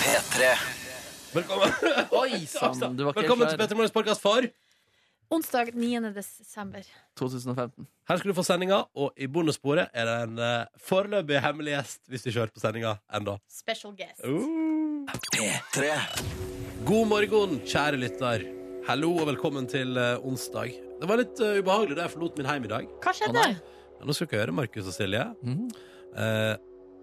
P3. Velkommen, Oi sann, du var ikke Velkommen til helt klar. Petter Morgens podkast for Onsdag 9. desember. 2015. Her skal du få sendinga, og i bondesporet er det en eh, foreløpig hemmelig gjest hvis du ikke har hørt på sendinga ennå. Special guest. Uh. P3. God morgen, kjære lytter. Hallo og velkommen til eh, onsdag. Det var litt eh, ubehagelig da jeg forlot min heim i dag. Hva skjedde? Å, Men nå skal dere høre, Markus og Silje. Mhm. Eh,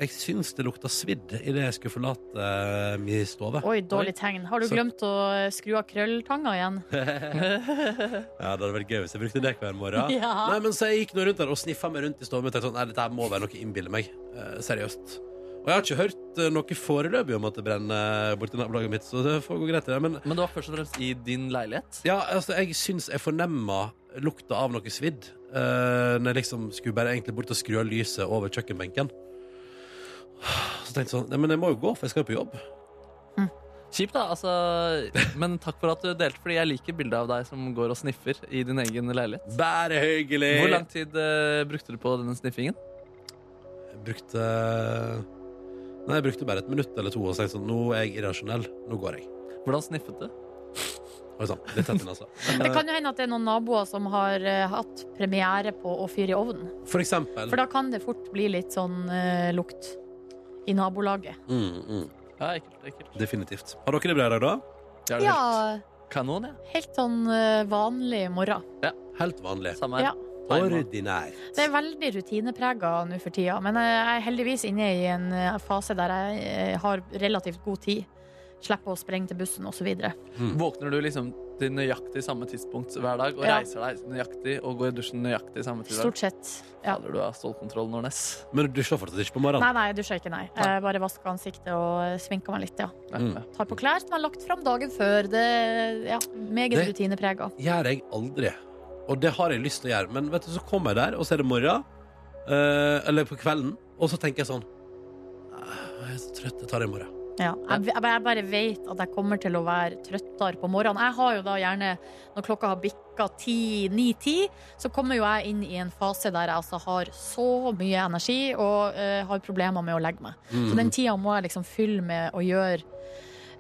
jeg syns det lukta svidd idet jeg skulle forlate eh, min stove. Oi, dårlig tegn. Har du Så- glemt å skru av krølltanga igjen? Ja, Det hadde vært gøy hvis jeg brukte det hver morgen. Ja. Nei, men så jeg gikk nå rundt der og sniffa meg rundt i stua mi og tenkte sånn, nei, dette her må være noe jeg innbiller meg. Eh, seriøst. Og jeg har ikke hørt eh, noe foreløpig om at det brenner eh, borti nabolaget mitt, så det får gå greit. i det, Men Men det var først og fremst i din leilighet. ja, altså, jeg syns jeg fornemma lukta av noe svidd eh, når jeg liksom skulle bare egentlig bort og skru av lyset over kjøkkenbenken. Så tenkte jeg sånn, nei, men jeg må jo gå, for jeg skal jo på jobb. Kjipt, da. altså Men takk for at du delte, fordi jeg liker bildet av deg som går og sniffer i din egen leilighet. Bare hyggelig! Hvor lang tid eh, brukte du på denne sniffingen? Jeg brukte Nei, jeg brukte bare et minutt eller to og tenkte sånn, nå er jeg irrasjonell. Nå går jeg. Hvordan sniffet du? Oi sann, litt tett inn, altså. Det kan jo hende at det er noen naboer som har eh, hatt premiere på å fyre i ovnen. For eksempel. For da kan det fort bli litt sånn eh, lukt i nabolaget. Mm, mm, Ja, ekkelt, ekkelt. definitivt. Har dere det bra i dag, da? Ja, det er helt Ja, Kanon, ja. helt sånn eh, vanlig morgen. Helt vanlig. Samme her. Ja. Timer. Ordinær. Det er veldig rutineprega nå for tida, men eh, jeg er heldigvis inne i en eh, fase der jeg eh, har relativt god tid. Slipper å sprenge til bussen osv. Våkner du liksom til nøyaktig samme tidspunkt hver dag og Ja. reiser deg nøyaktig og går i dusjen nøyaktig samme tid? Stort sett. Ja. Fader, du har stålkontroll, Nordnes. Men du dusjer fortsatt ikke på morgenen? Nei, nei, jeg dusja ikke, nei. Jeg bare vaska ansiktet og eh, sminka meg litt, ja. Ja, Mm. ja. Tar på klær som jeg har lagt fram dagen før. Det ja, meget Det- rutineprega. Gjør jeg aldri. Og det har jeg lyst til å gjøre. Men vet du, så kommer jeg der, og så er det morgen. eh, eller på kvelden. Og så tenker jeg sånn «Ah, Jeg er så trøtt. Jeg tar det i morgen. Ja. Jeg, jeg, jeg bare vet at jeg kommer til å være trøttere på morgenen. Jeg har jo da gjerne, når klokka har bikka 9-10, så kommer jo jeg inn i en fase der jeg altså har så mye energi og eh, har problemer med å legge meg. Mm, Så den tida må jeg liksom fylle med å gjøre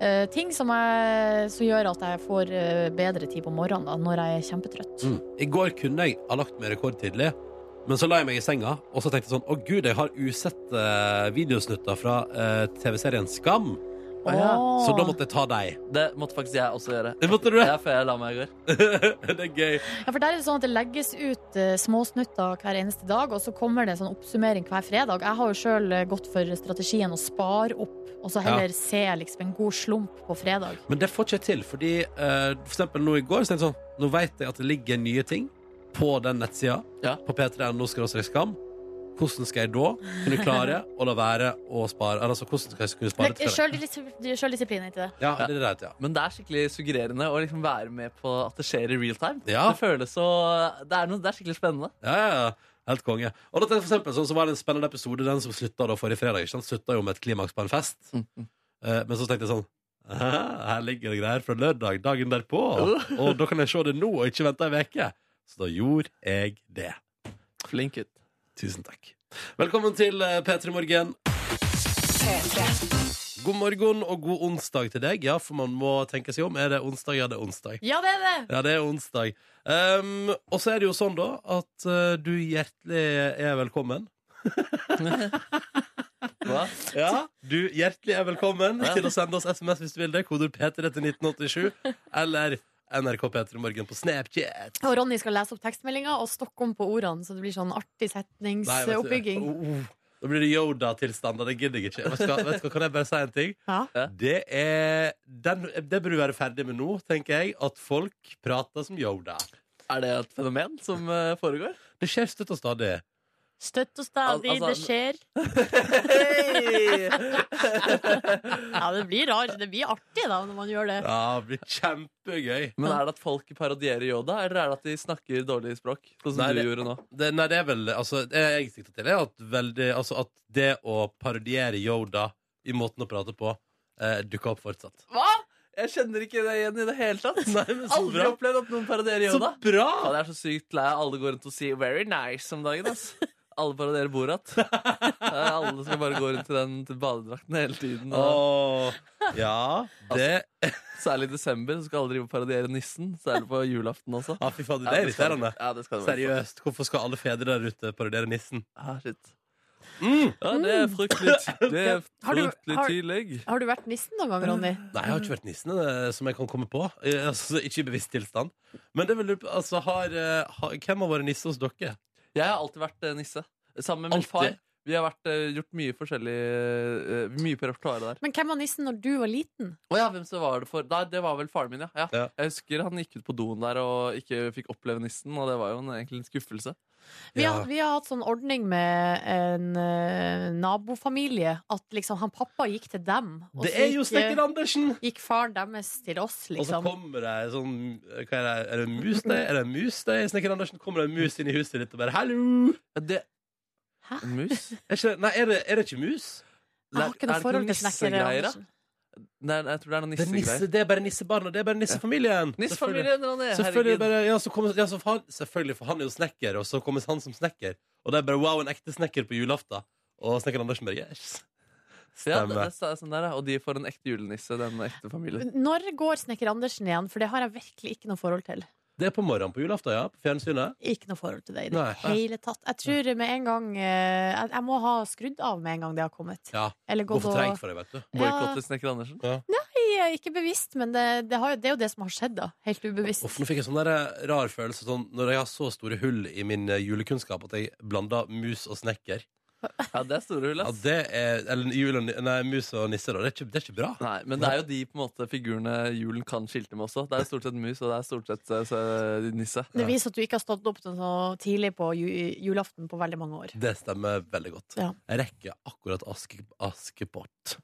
eh, ting som, jeg, som gjør at jeg får eh, bedre tid på morgenen da, når jeg er kjempetrøtt. Mm. I går kunne jeg ha lagt meg rekordtidlig, men så la jeg meg i senga, og så tenkte jeg sånn Å, gud, jeg har usett eh, videosnutter fra eh, TV-serien Skam, Å, ja. Åh. så da måtte jeg ta deg. Det måtte faktisk jeg også gjøre. Det måtte du Ja, før jeg la meg i går. det er gøy. Ja, for der er det sånn at det legges ut eh, småsnutter hver eneste dag, og så kommer det en sånn oppsummering hver fredag. Jeg har jo sjøl gått for strategien å spare opp, og så heller se liksom en god slump på fredag. Men det får ikke jeg til, fordi eh, for eksempel nå i går, så tenkte jeg sånn Nå vet jeg at det ligger nye ting på den nettsida, Ja. på p3.no skam. Hvordan skal jeg da kunne klare å la være å spare eller, Altså, hvordan skal jeg kunne spare til fredag? Sjøldisiplin, ikke det? Ja, det er rett, ja. Men det er skikkelig suggererende å liksom være med på at det skjer i real time. Ja. Det føles så det er, noe, det er skikkelig spennende. Ja, ja, ja. Helt konge. Og da tenkte jeg for eksempel, sånn, så var det en spennende episode, den som slutta da forrige fredag. Ikke sant? Slutta jo med et klimaks på en fest. Eh, men så tenkte jeg sånn «Hæ? Her ligger det greier fra lørdag, dagen derpå. Og da kan jeg se det nå, og ikke vente ei uke. Så da gjorde jeg det. Flink gutt. Tusen takk. Velkommen til eh, P3 Morgen. God morgen og god onsdag til deg. Ja, for man må tenke seg om. Er det onsdag? Ja, det er onsdag. Ja, det er det! Ja, det er onsdag. Um, og så er det jo sånn, da, at eh, du hjertelig er velkommen. Hva? Ja, du hjertelig er velkommen Ja. til å sende oss SMS hvis du vil det. Kodord P3 til 1987. Eller NRK P3 Morgen på Snapchat. Og Ronny skal lese opp tekstmeldinga og stokke om på ordene, så det blir sånn artig Nei, vet du- setningsoppbygging. Oh, oh. Da blir det Yoda-tilstander. Det gidder jeg ikke. Vet du hva, vet du hva, kan jeg bare si en ting? Ja. Det, er, den, det burde vi være ferdig med nå, tenker jeg. At folk prater som Yoda. Er det et fenomen som eh, foregår? Det skjer støtt og stadig. Støtt og stadig, Al- altså- det skjer. Ja, det blir rart. Det blir artig, da, når man gjør det. Ja, det blir kjempegøy. Men er det at folk parodierer Yoda, eller er det at de snakker dårlig språk? Sånn som Nei, du det- gjorde nå. Det, nei, det er vel altså, Det jeg sikter til, er at, veldig, altså, at det å parodiere Yoda i måten å prate på, eh, dukker opp fortsatt. Hva? Jeg kjenner ikke det igjen i det hele tatt. Nei, men så Aldri bra! opplevd at noen parodierer Så Yoda. bra! Ja, det er så sykt lei av alle går rundt og sier 'very nice' om dagen. Ass. Alle parodierer Borat. Alle skal bare gå rundt i den til badedrakten hele tiden. Og Åh, ja, Altså, det særlig i desember så skal alle drive og parodiere nissen. Særlig på julaften også. ah, Fy fader, det er Ja, skal- irriterende. Ja, det skal det være. Seriøst, hvorfor skal alle fedre der ute parodiere nissen? Ja, shit. Mm. Ja, det er fryktelig, ty- det er Har du- fryktelig har- tidlig. Har du vært nissen noen gang, Ronny? Nei, jeg har ikke vært nissen eh, som jeg kan komme på. Eh, Altså, ikke i bevisst tilstand. Men det vil du, altså, har, eh, har, hvem har vært nisse hos dere? Jeg har alltid vært eh, nisse. Sammen med min Alltid? far. Vi har vært, eh, gjort mye forskjellig eh, Mye på repertoaret der. Men hvem var nissen når du var liten? Å ja, hvem så var det for? Nei, det var vel faren min, ja. ja. Ja. Jeg husker han gikk ut på doen der og ikke fikk oppleve nissen, og det var jo en, egentlig en skuffelse. Vi Ja. har, vi har hatt sånn ordning med en eh, nabofamilie. At liksom han pappa gikk til dem. og Det så er jo gikk, snekker Andersen! eh, Gikk faren deres til oss, Og så liksom. kommer det sånn hva Er det er det en mus der? Er det en mus der? Snekker Andersen kommer det en mus inn i huset ditt og bare 'hallo'? Ja, Det, Hæ? en mus? Er ikke, nei, er det, er det ikke mus? Jeg har ikke noe altså. Er det forhold til snekker nissegreier, da? Andersen. Nei, nei, jeg tror det er noen Det er, nissegreier. nisse, det er bare nissebarn, og det er bare nissefamilien. Nissefamilien, Ronny! Selvfølgelig. Selvfølgelig, Herregud. bare, ja, så kommer, ja, så han, selvfølgelig, for han er jo snekker, og så kommer han som snekker. Og det er bare wow, en ekte snekker på julaften. Og snekker Andersen bare yes. Ja, det, Stemmer. det er sånn der, ja. Og de får en ekte julenisse, den ekte familien. Når går snekker Andersen igjen? For det har jeg virkelig ikke noe forhold til. Det er på morgenen på julaften, ja. På fjernsynet. Ikke noe forhold til det i det Nei. hele tatt. Jeg tror med en gang eh, Jeg jeg må ha skrudd av med en gang det har kommet. Ja, Eller Går gått for og treigt for deg, vet du. Ja. Boikotter Snekker Andersen. Nei, Ikke bevisst, men det, det, har, jo- det er jo det som har skjedd, da. Helt ubevisst. Uff, nå fikk jeg sånn der eh, rar følelse sånn, når jeg har så store hull i min eh, julekunnskap at jeg blander mus og snekker. Ja, det er store hull, Ja, ass. det er, eller jul og, ni- nei, mus og nisse, da. Det er ikke, det er ikke bra. Nei, men det er jo de på en måte figurene julen kan skilte med også. Det er jo stort sett mus, og det er stort sett eh, så- nisse. Det viser at du ikke har stått opp så tidlig på ju julaften på veldig mange år. Det stemmer veldig godt. Ja. Jeg rekker akkurat aske, Askepott.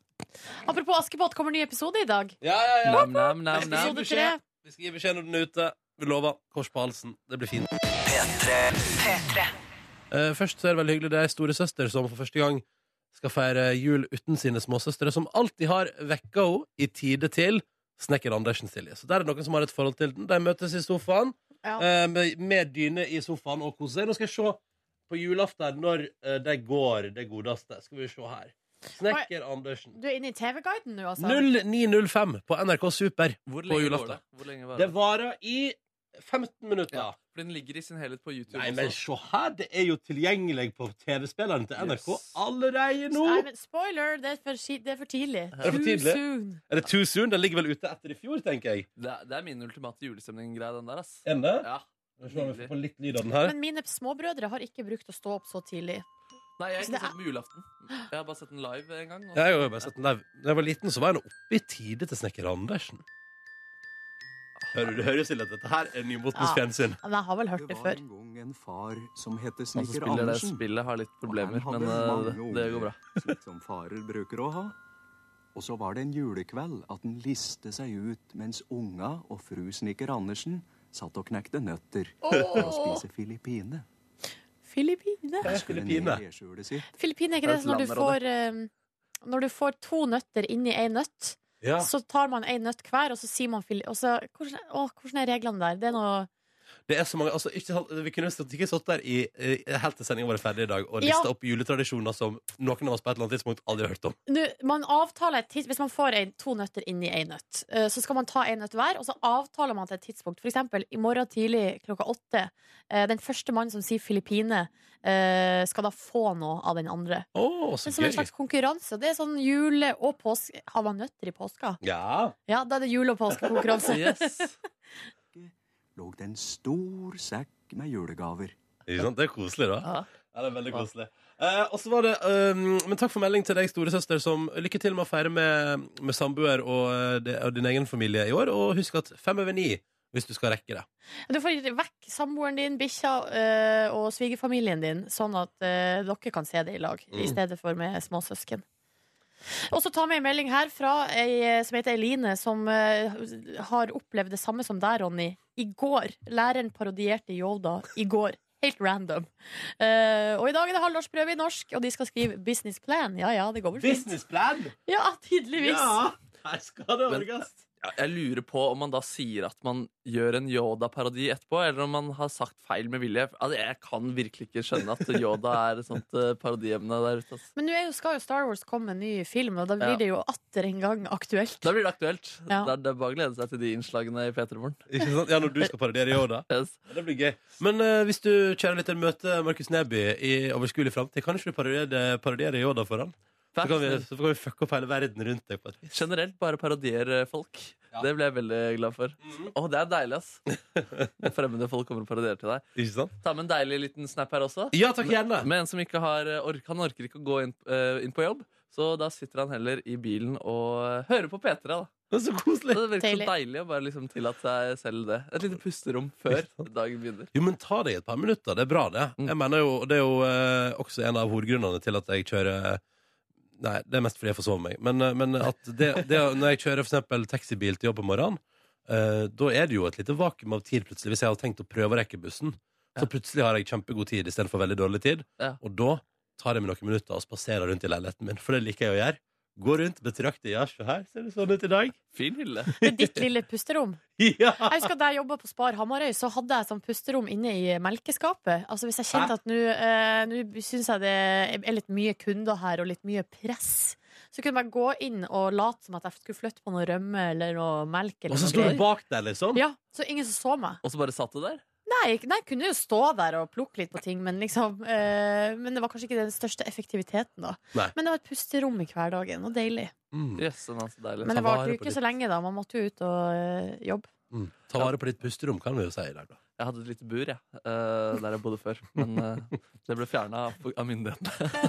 Apropos Askepott, kommer ny episode i dag. Ja, ja, Nam, nam, nam, nam. Episode tre. Vi skal gi beskjed når den er ute. Vi lover. Kors på halsen. Det blir fint. Eh, først så er det veldig hyggelig. Det er ei storesøster som for første gang skal feire jul uten sine småsøstre, som alltid har vekka henne i tide til Snekker Andersen Silje. Så der er det noen som har et forhold til den. De møtes i sofaen Ja. eh, med, med dyne i sofaen og koser seg. Nå skal jeg se på julaften når eh, det går det godeste. Skal vi se her. Snekker Andersen. Du er inne i TV-guiden nå, altså? 0905 på NRK Super. Hvor På lenge går julaften. det? Hvor lenge var Det det? varer i 15 minutter. Ja, for den ligger i sin helhet på YouTube Nei, men også. se her, det er jo tilgjengelig på TV-spilleren til NRK Yes. allerede nå! Nei, men spoiler! Det er for, si- det er for tidlig. det for tidlig? Too soon. Er det Too Soon? Den ligger vel ute etter i fjor, tenker jeg. Det er, det er min ultimate julestemning-greie, den der, ass. Ende? Ja. Skal vi se om vi får på litt lyd av den her. Men mine småbrødre har ikke brukt å stå opp så tidlig. Nei, jeg har Så ikke det er- sett den på julaften. Jeg har bare sett den live en gang. og- Jeg har jo bare sett den der. Da jeg var liten, så var jeg nå oppe i tide til snekker Andersen. Hører du hører, Silje, at dette her er nymotens Ja. fjernsyn? Men jeg har vel hørt Det det var før. en gang en far som het Han som Snekker spiller det Andersen. spillet, har litt problemer, Og han men hadde eh, mange det unger, går bra. slik som farer bruker å ha. Og så var det en julekveld at han liste seg ut mens unga og fru Snekker Andersen satt og knekte nøtter for å spise filippine. Filippine? Det er Skulle Filippine. ned i skjulet sitt. Filippine er ikke Det er det et sånn når land, du får eh, Når du får to nøtter inni ei nøtt, Ja. så tar man ei nøtt hver, og så sier man fili... Og så, hvordan, å, hvordan er reglene der? Det er noe Det er så mange, altså, ikke, sant, vi kunne stått- ikke stått der i, eh, helt til sendingen var ferdig i dag og Ja. lista opp juletradisjoner som noen av oss på et eller annet tidspunkt aldri har hørt om. Nå, man avtaler et tids, Hvis man får en, to nøtter inni ei nøtt, eh, så skal man ta en nøtt hver, og så avtaler man til et tidspunkt. For eksempel i morgen tidlig klokka åtte. eh, Den første mannen som sier Filippine, eh, skal da få noe av den andre. Å, Det så er som en gøy! slags konkurranse. Det er sånn jule- og påske... Har man nøtter i påska? Ja. Ja, da er det jule- og påskekonkurranse. Yes. Lå det en stor sekk med julegaver. Ikke sant? Det er koselig, da. Ja. Ja, det er veldig koselig. Eh, og så var det, ehm, men Takk for melding til deg, storesøster. som Lykke til med å feire med, med samboer og, eh, det- og din egen familie i år. Og husk at fem over ni hvis du skal rekke det. Du får vekk samboeren din, bikkja eh, og svigerfamilien din, sånn at eh, dere kan se det i lag, i stedet for med småsøsken. Og så ta med en melding her fra ei eh, som heter Eline, som eh, har opplevd det samme som deg, Ronny. I går. Læreren parodierte Yoda i går. Helt random. Eh, og i dag er det halvårsprøve i norsk, og de skal skrive business plan. Ja ja, det går vel fint. Businessplan! Ja, tydeligvis. Her skal det Men- orges! Ja, Jeg lurer på om man da sier at man gjør en Yoda-parodi etterpå, eller om man har sagt feil med vilje. Altså, jeg kan virkelig ikke skjønne at Yoda er et sånt eh, parodiemne der ute. ass. Men nå er jo- skal jo Star Wars komme en ny film, og da blir Ja. det jo atter en gang aktuelt. Da blir det aktuelt. Ja. Da er det bare å glede seg til de innslagene i P3 Morgen. Ikke sant? Ja, når du skal parodiere Yoda. Yes. Ja, Det blir gøy. Men eh, hvis du kjære lytter møter Markus Neby i overskuelig framtid, kan ikke du parodiere, parodiere Yoda for ham? Så kan, vi, så kan vi fucke opp hele verden rundt deg på et vis. eh, Generelt bare parodiere folk. Det ble jeg veldig glad for. Mhm. Å, det er deilig, ass. Når Fremmede folk kommer og parodierer til deg. Ikke sant? Ta med en deilig liten snap her også. Ja takk, gjerne! Med en som ikke har eh, ork, Han orker ikke å gå inn, eh, inn på jobb, så da sitter han heller i bilen og eh, hører på P3. da Det er så koselig! Så Det virker Deilig. så deilig å bare liksom tillate seg selv det. Et lite pusterom før dagen begynner. Jo, men ta deg et par minutter. Det er bra, det. Mm. Jeg mener jo, Det er jo eh, også en av hovedgrunnene til at jeg kjører eh, Nei, det er mest fordi jeg forsover meg. Men, eh, men at det, det, når jeg kjører for eksempel taxibil til jobb om morgenen, eh, da er det jo et lite vakuum av tid plutselig. Hvis jeg hadde tenkt å prøve å rekke bussen, Ja. så plutselig har jeg kjempegod tid istedenfor veldig dårlig tid. Ja. Og da tar jeg meg noen minutter og spaserer rundt i leiligheten min, for det liker jeg å gjøre. Gå rundt, betrakte ja, se her, ser det sånn ut i dag? Fin hylle. Det er ditt lille pusterom. Ja! Jeg husker Da jeg jobba på Spar Hamarøy, så hadde jeg sånn pusterom inne i melkeskapet. Altså Hvis jeg kjente at nå eh, nå syns jeg det er litt mye kunder her og litt mye press, så kunne jeg bare gå inn og late som at jeg skulle flytte på noe rømme eller noe melk. Eller Og så noe står greier. du bak der, liksom. Ja, så ingen som så meg. Og så bare satt du der. Nei, ikke- nei, jeg kunne jo stå der og plukke litt på ting, men liksom eh, Men det var kanskje ikke den største effektiviteten, da. Nei. Men det var et pusterom i hverdagen, og deilig. Mm. Jøss, den er så deilig. Men Ta det varte vare jo på ikke så ditt- lenge, da. Man måtte jo ut og eh, jobbe. Mm. Ta vare på ditt pusterom, kan vi jo si i dag, da. Jeg hadde et lite bur, jeg, eh, der jeg bodde før. Men eh, det ble fjerna av, av myndighetene.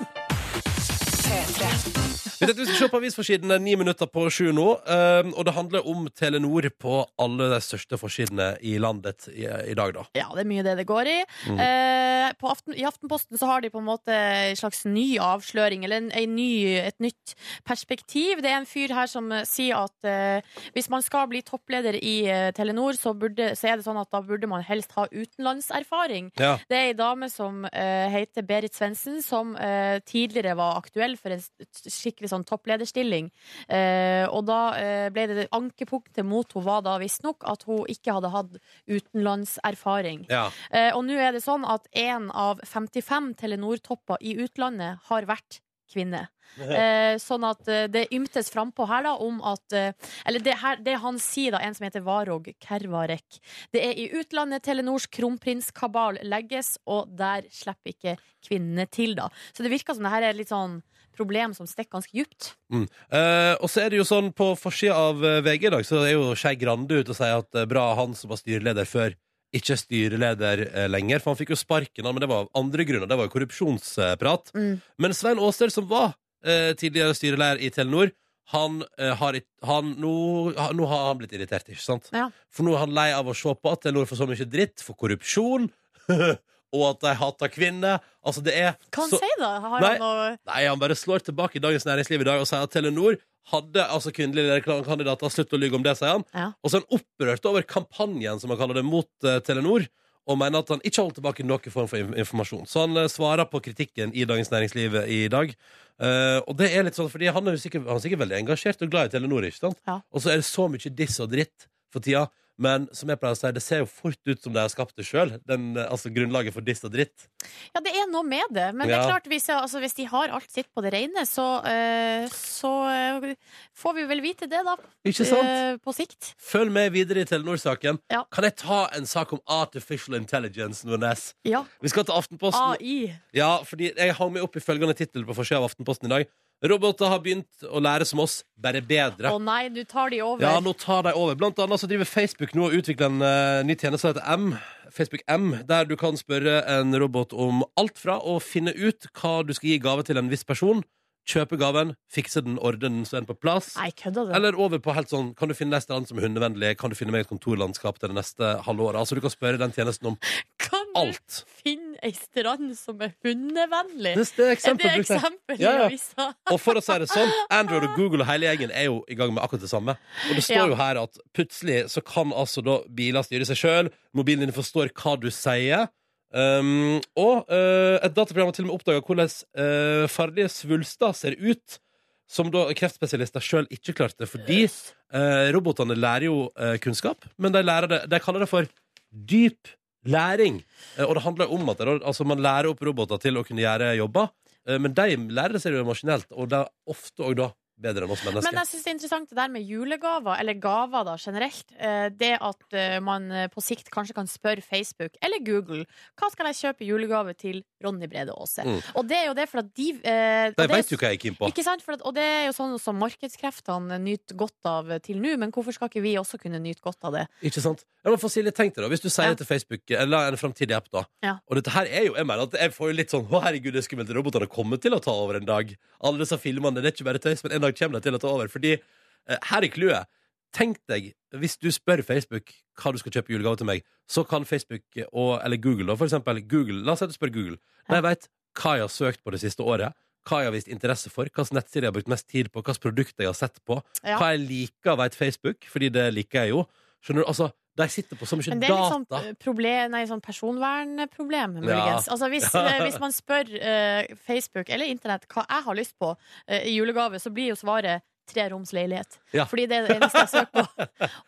Vet du, Vi skal se på avisforsidene ni minutter på sju nå. ehm, og det handler om Telenor på alle de største forsidene i landet i, i dag, da. Ja, det er mye det det går i. Eh, på Aften, I Aftenposten så har de på en måte en slags ny avsløring, eller en, en ny, et nytt perspektiv. Det er en fyr her som eh, sier at eh, hvis man skal bli toppleder i eh, Telenor, så, burde, så er det sånn at da burde man helst ha utenlandserfaring. Ja. Det er ei dame som eh, heter Berit Svendsen, som eh, tidligere var aktuell for en s- skikkelig sånn topplederstilling. Eh, og da eh, ble det ankepunktet mot henne var da visstnok at hun ikke hadde hatt utenlandserfaring. ja. Eh, og nå er det sånn at én av 55 Telenor-topper i utlandet har vært kvinne. Eh, sånn at eh, det ymtes frampå her da om at eh, Eller det, her, det han sier, da, en som heter Varog Kervarek Det er i utlandet Telenors kronprinskabal legges, og der slipper ikke kvinnene til, da. Så det virker som det her er et litt sånn problem som stikker ganske djupt. Mm. Eh, og så er det jo sånn på forsida av eh, VG i dag, så er jo Skei Grande ute og sier at eh, bra han som var styreleder før, ikke er styreleder eh, lenger. For han fikk jo sparken, han, men det var av andre grunner. Det var jo korrupsjonsprat. Mm. Men Svein Aaster, som var eh, tidligere styreleder i Telenor, han, eh, har, ikke- han, nå, ha- nå har han blitt irritert, ikke sant? Ja. For nå er han lei av å se på at Telenor får så mye dritt for korrupsjon, og at de hater kvinner. Altså, det er Hva han så- sier da? Har Nei. han noe Nei, han bare slår tilbake i Dagens Næringsliv i dag og sier at Telenor hadde altså kvinnelige lederkandidater. Slutt å lyve om det, sier han. Ja. Og så er han opprørt over kampanjen som han kaller det mot eh, Telenor, og mener at han ikke holdt tilbake noen form for in- informasjon. Så han eh, svarer på kritikken i Dagens Næringsliv i dag. Eh, og det er litt sånn, fordi han er, jo sikkert, han er sikkert veldig engasjert og glad i Telenor, ikke sant? Ja. Og så er det så mye diss og dritt for tida. Men som jeg pleier å si, det ser jo fort ut som de har skapt det sjøl. Altså grunnlaget for diss og dritt. Ja, det er noe med det. Men det er Ja. klart, hvis, altså, hvis de har alt sitt på det rene, så, eh, så eh, får vi vel vite det, da. Ikke sant? eh, på sikt. Følg med videre i Telenor-saken. Ja. Kan jeg ta en sak om artificial intelligence, Nordnes? Ja. Vi skal til Aftenposten. AI. Ja, fordi jeg hang meg opp i følgende tittel på forsida av Aftenposten i dag. Roboter har begynt å lære som oss, bare Å bedre. nei, du tar de over. Ja, nå tar de over. Blant annet så driver Facebook nå og utvikler en eh, ny tjeneste som heter M, Facebook M, der du kan spørre en robot om alt fra å finne ut hva du skal gi gave til en viss person, kjøpe gaven, fikse den, ordne den så er den på plass. Nei, kødda du? Eller over på helt sånn Kan du finne neste land som er hundevennlig? Kan du finne meg et kontorlandskap til det neste halve året? Altså, du kan spørre den tjenesten om kan du alt. finne ei strand som er hundevennlig? Det er Er det eksempel brukt her. eksempel Ja, ja. i avisa? Og for å si det sånn, Android og Google og hele gjengen er jo i gang med akkurat det samme. Og det står Ja. jo her at plutselig så kan altså da biler styre seg sjøl, mobilen din forstår hva du sier. Um, og eh, et dataprogram har til og med oppdaga hvordan eh, farlige svulster ser ut. som da kreftspesialister sjøl ikke klarte, fordi eh, robotene lærer jo eh, kunnskap, men de, lærer det, de kaller det for dyp læring. Eh, og det handler om at det, da- altså, man lærer opp roboter til å kunne gjøre jobber, eh, men de lærer det seg jo maskinelt, og det er ofte òg da bedre enn oss mennesker. Men altså, jeg syns det er interessant det der med julegaver, eller gaver da generelt. Eh, Det at eh, man eh, på sikt kanskje kan spørre Facebook eller Google hva skal jeg kjøpe i julegave til Ronny Brede Aase. Mm. Og det er jo det for at de eh, og det de er- veit jo hva jeg er keen på. Ikke sant? For at, og det er jo sånn som markedskreftene nyter godt av til nå, men hvorfor skal ikke vi også kunne nyte godt av det? Ikke sant? Ja, men for Silje, tenk deg da, Hvis du sier Ja. det til Facebook eller en framtidig app da Ja. Og dette her er jo, jeg mener at jeg får jo litt sånn Å herregud, det er skummelt. Robotene kommer til å ta over en dag. Alle disse filmene. Det er ikke bare tøys, men en dag kommer de til å ta over. Fordi eh, her er clouet. Tenk deg, hvis du spør Facebook hva du skal kjøpe i julegave til meg, så kan Facebook eh, og, eller Google da, for eksempel Google, La oss si at du spør Google. De vet hva jeg har søkt på det siste året. Hva jeg har vist interesse for, hvilke nettsider jeg har brukt mest tid på, hvilke produkter jeg har sett på. Ja. Hva jeg liker, vet Facebook, fordi det liker jeg jo. Skjønner du? Altså, De sitter på så mye Men det er data. litt sånn, eh, problem, nei, sånn personvernproblem, muligens. Altså, hvis, eh, hvis man spør eh, Facebook eller Internett hva jeg har lyst på eh, i julegave, så blir jo svaret tre roms leilighet. Ja. Fordi det er det eneste jeg søker på. Og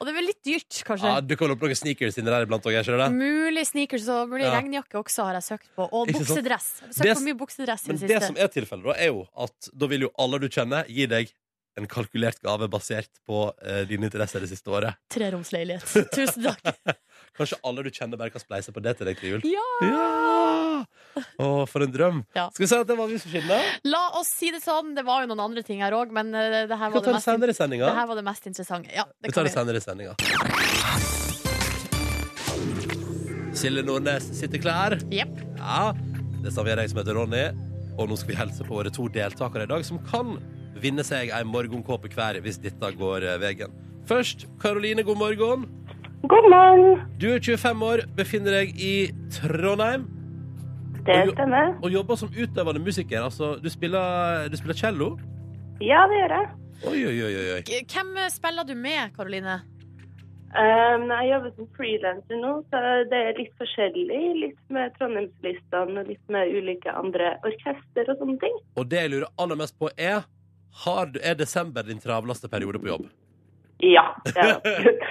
det er vel litt dyrt, kanskje. Ja, du kan vel opp noen sneakers inni der iblant òg, ikke det? Mulig sneakers og mulig Ja. regnjakke også har jeg søkt på. Og Ikke sant? buksedress. Jeg har Det søkt s- på mye buksedress i Men det det som siste. er tilfellet, da, er jo at da vil jo alle du kjenner, gi deg en kalkulert gave basert på eh, dine interesser det siste året. Tre roms leilighet. Tusen takk. Kanskje alle du kjenner, bare kan spleise på det til deg til jul. Ja! Ja! Å, for en drøm. Ja. Skal vi si at det var vi som skinner? La oss si det sånn. Det var jo noen andre ting her òg, men eh, det her Vi var det kan ta det mest, in- senere i sendinga. det her var det mest interessante. Ja, Vi det tar kan vi. det senere i sendinga. Silje Nordnes sitter klar. Jepp. Ja, det samme gjør jeg som heter Ronny. Og nå skal vi hilse på våre to deltakere i dag, som kan vinne seg ei morgenkåpe hver hvis dette går eh, veien. Først, Karoline, god morgen. God morgen. Du er 25 år, befinner deg i Trondheim Det Og jo- stemmer. og jobber som utøvende musiker. Altså, du spiller, du spiller cello. Ja, det gjør jeg. Oi, oi, oi, oi, oi. K- Hvem eh, spiller du med, Karoline? Um, jeg jobber som frilanser nå, så det er litt forskjellig. Litt med Trondheimslistene og litt med ulike andre orkester og sånne ting. Og det jeg lurer aller mest på, er har, du- Er desember din travleste periode på jobb? Ja. det er absolutt.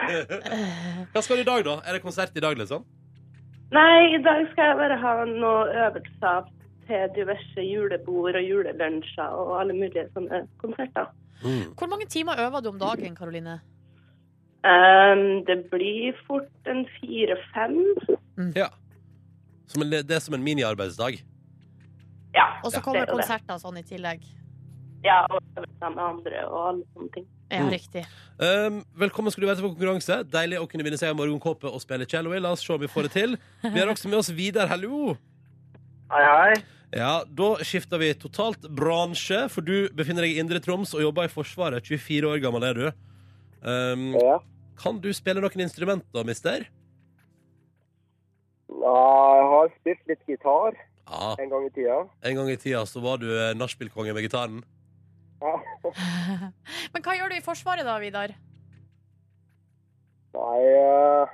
Hva skal du i dag, da? Er det konsert i dag, liksom? Nei, i dag skal jeg bare ha noen øvelser til diverse julebord og julelunsjer og alle mulige sånne konserter. Hvor mange timer øver du om dagen, Karoline? Um, det blir fort en fire-fem. Ja. Som en, det er som en miniarbeidsdag. Ja. Og så det kommer er jo det. konserter sånn i tillegg. Ja, og øvelser med andre og alle sånne ting. Ja, Mm. riktig. Um, velkommen skal du være til vår konkurranse. Deilig å kunne vinne seg en morgenkåpe og spille cello i. La oss se om vi får det til. Vi har også med oss Vidar. Hallo! Hei, hei. Ja, Da skifter vi totalt bransje, for du befinner deg i Indre Troms og jobber i Forsvaret. 24 år gammel er du. Um, Ja. kan du spille noen instrumenter, mister? Ja, Jeg har spilt litt gitar Ja. en gang i tida. En gang i tida så var du eh, nachspielkonge med gitaren. Ja. Men hva gjør du i Forsvaret da, Vidar? Nei eh,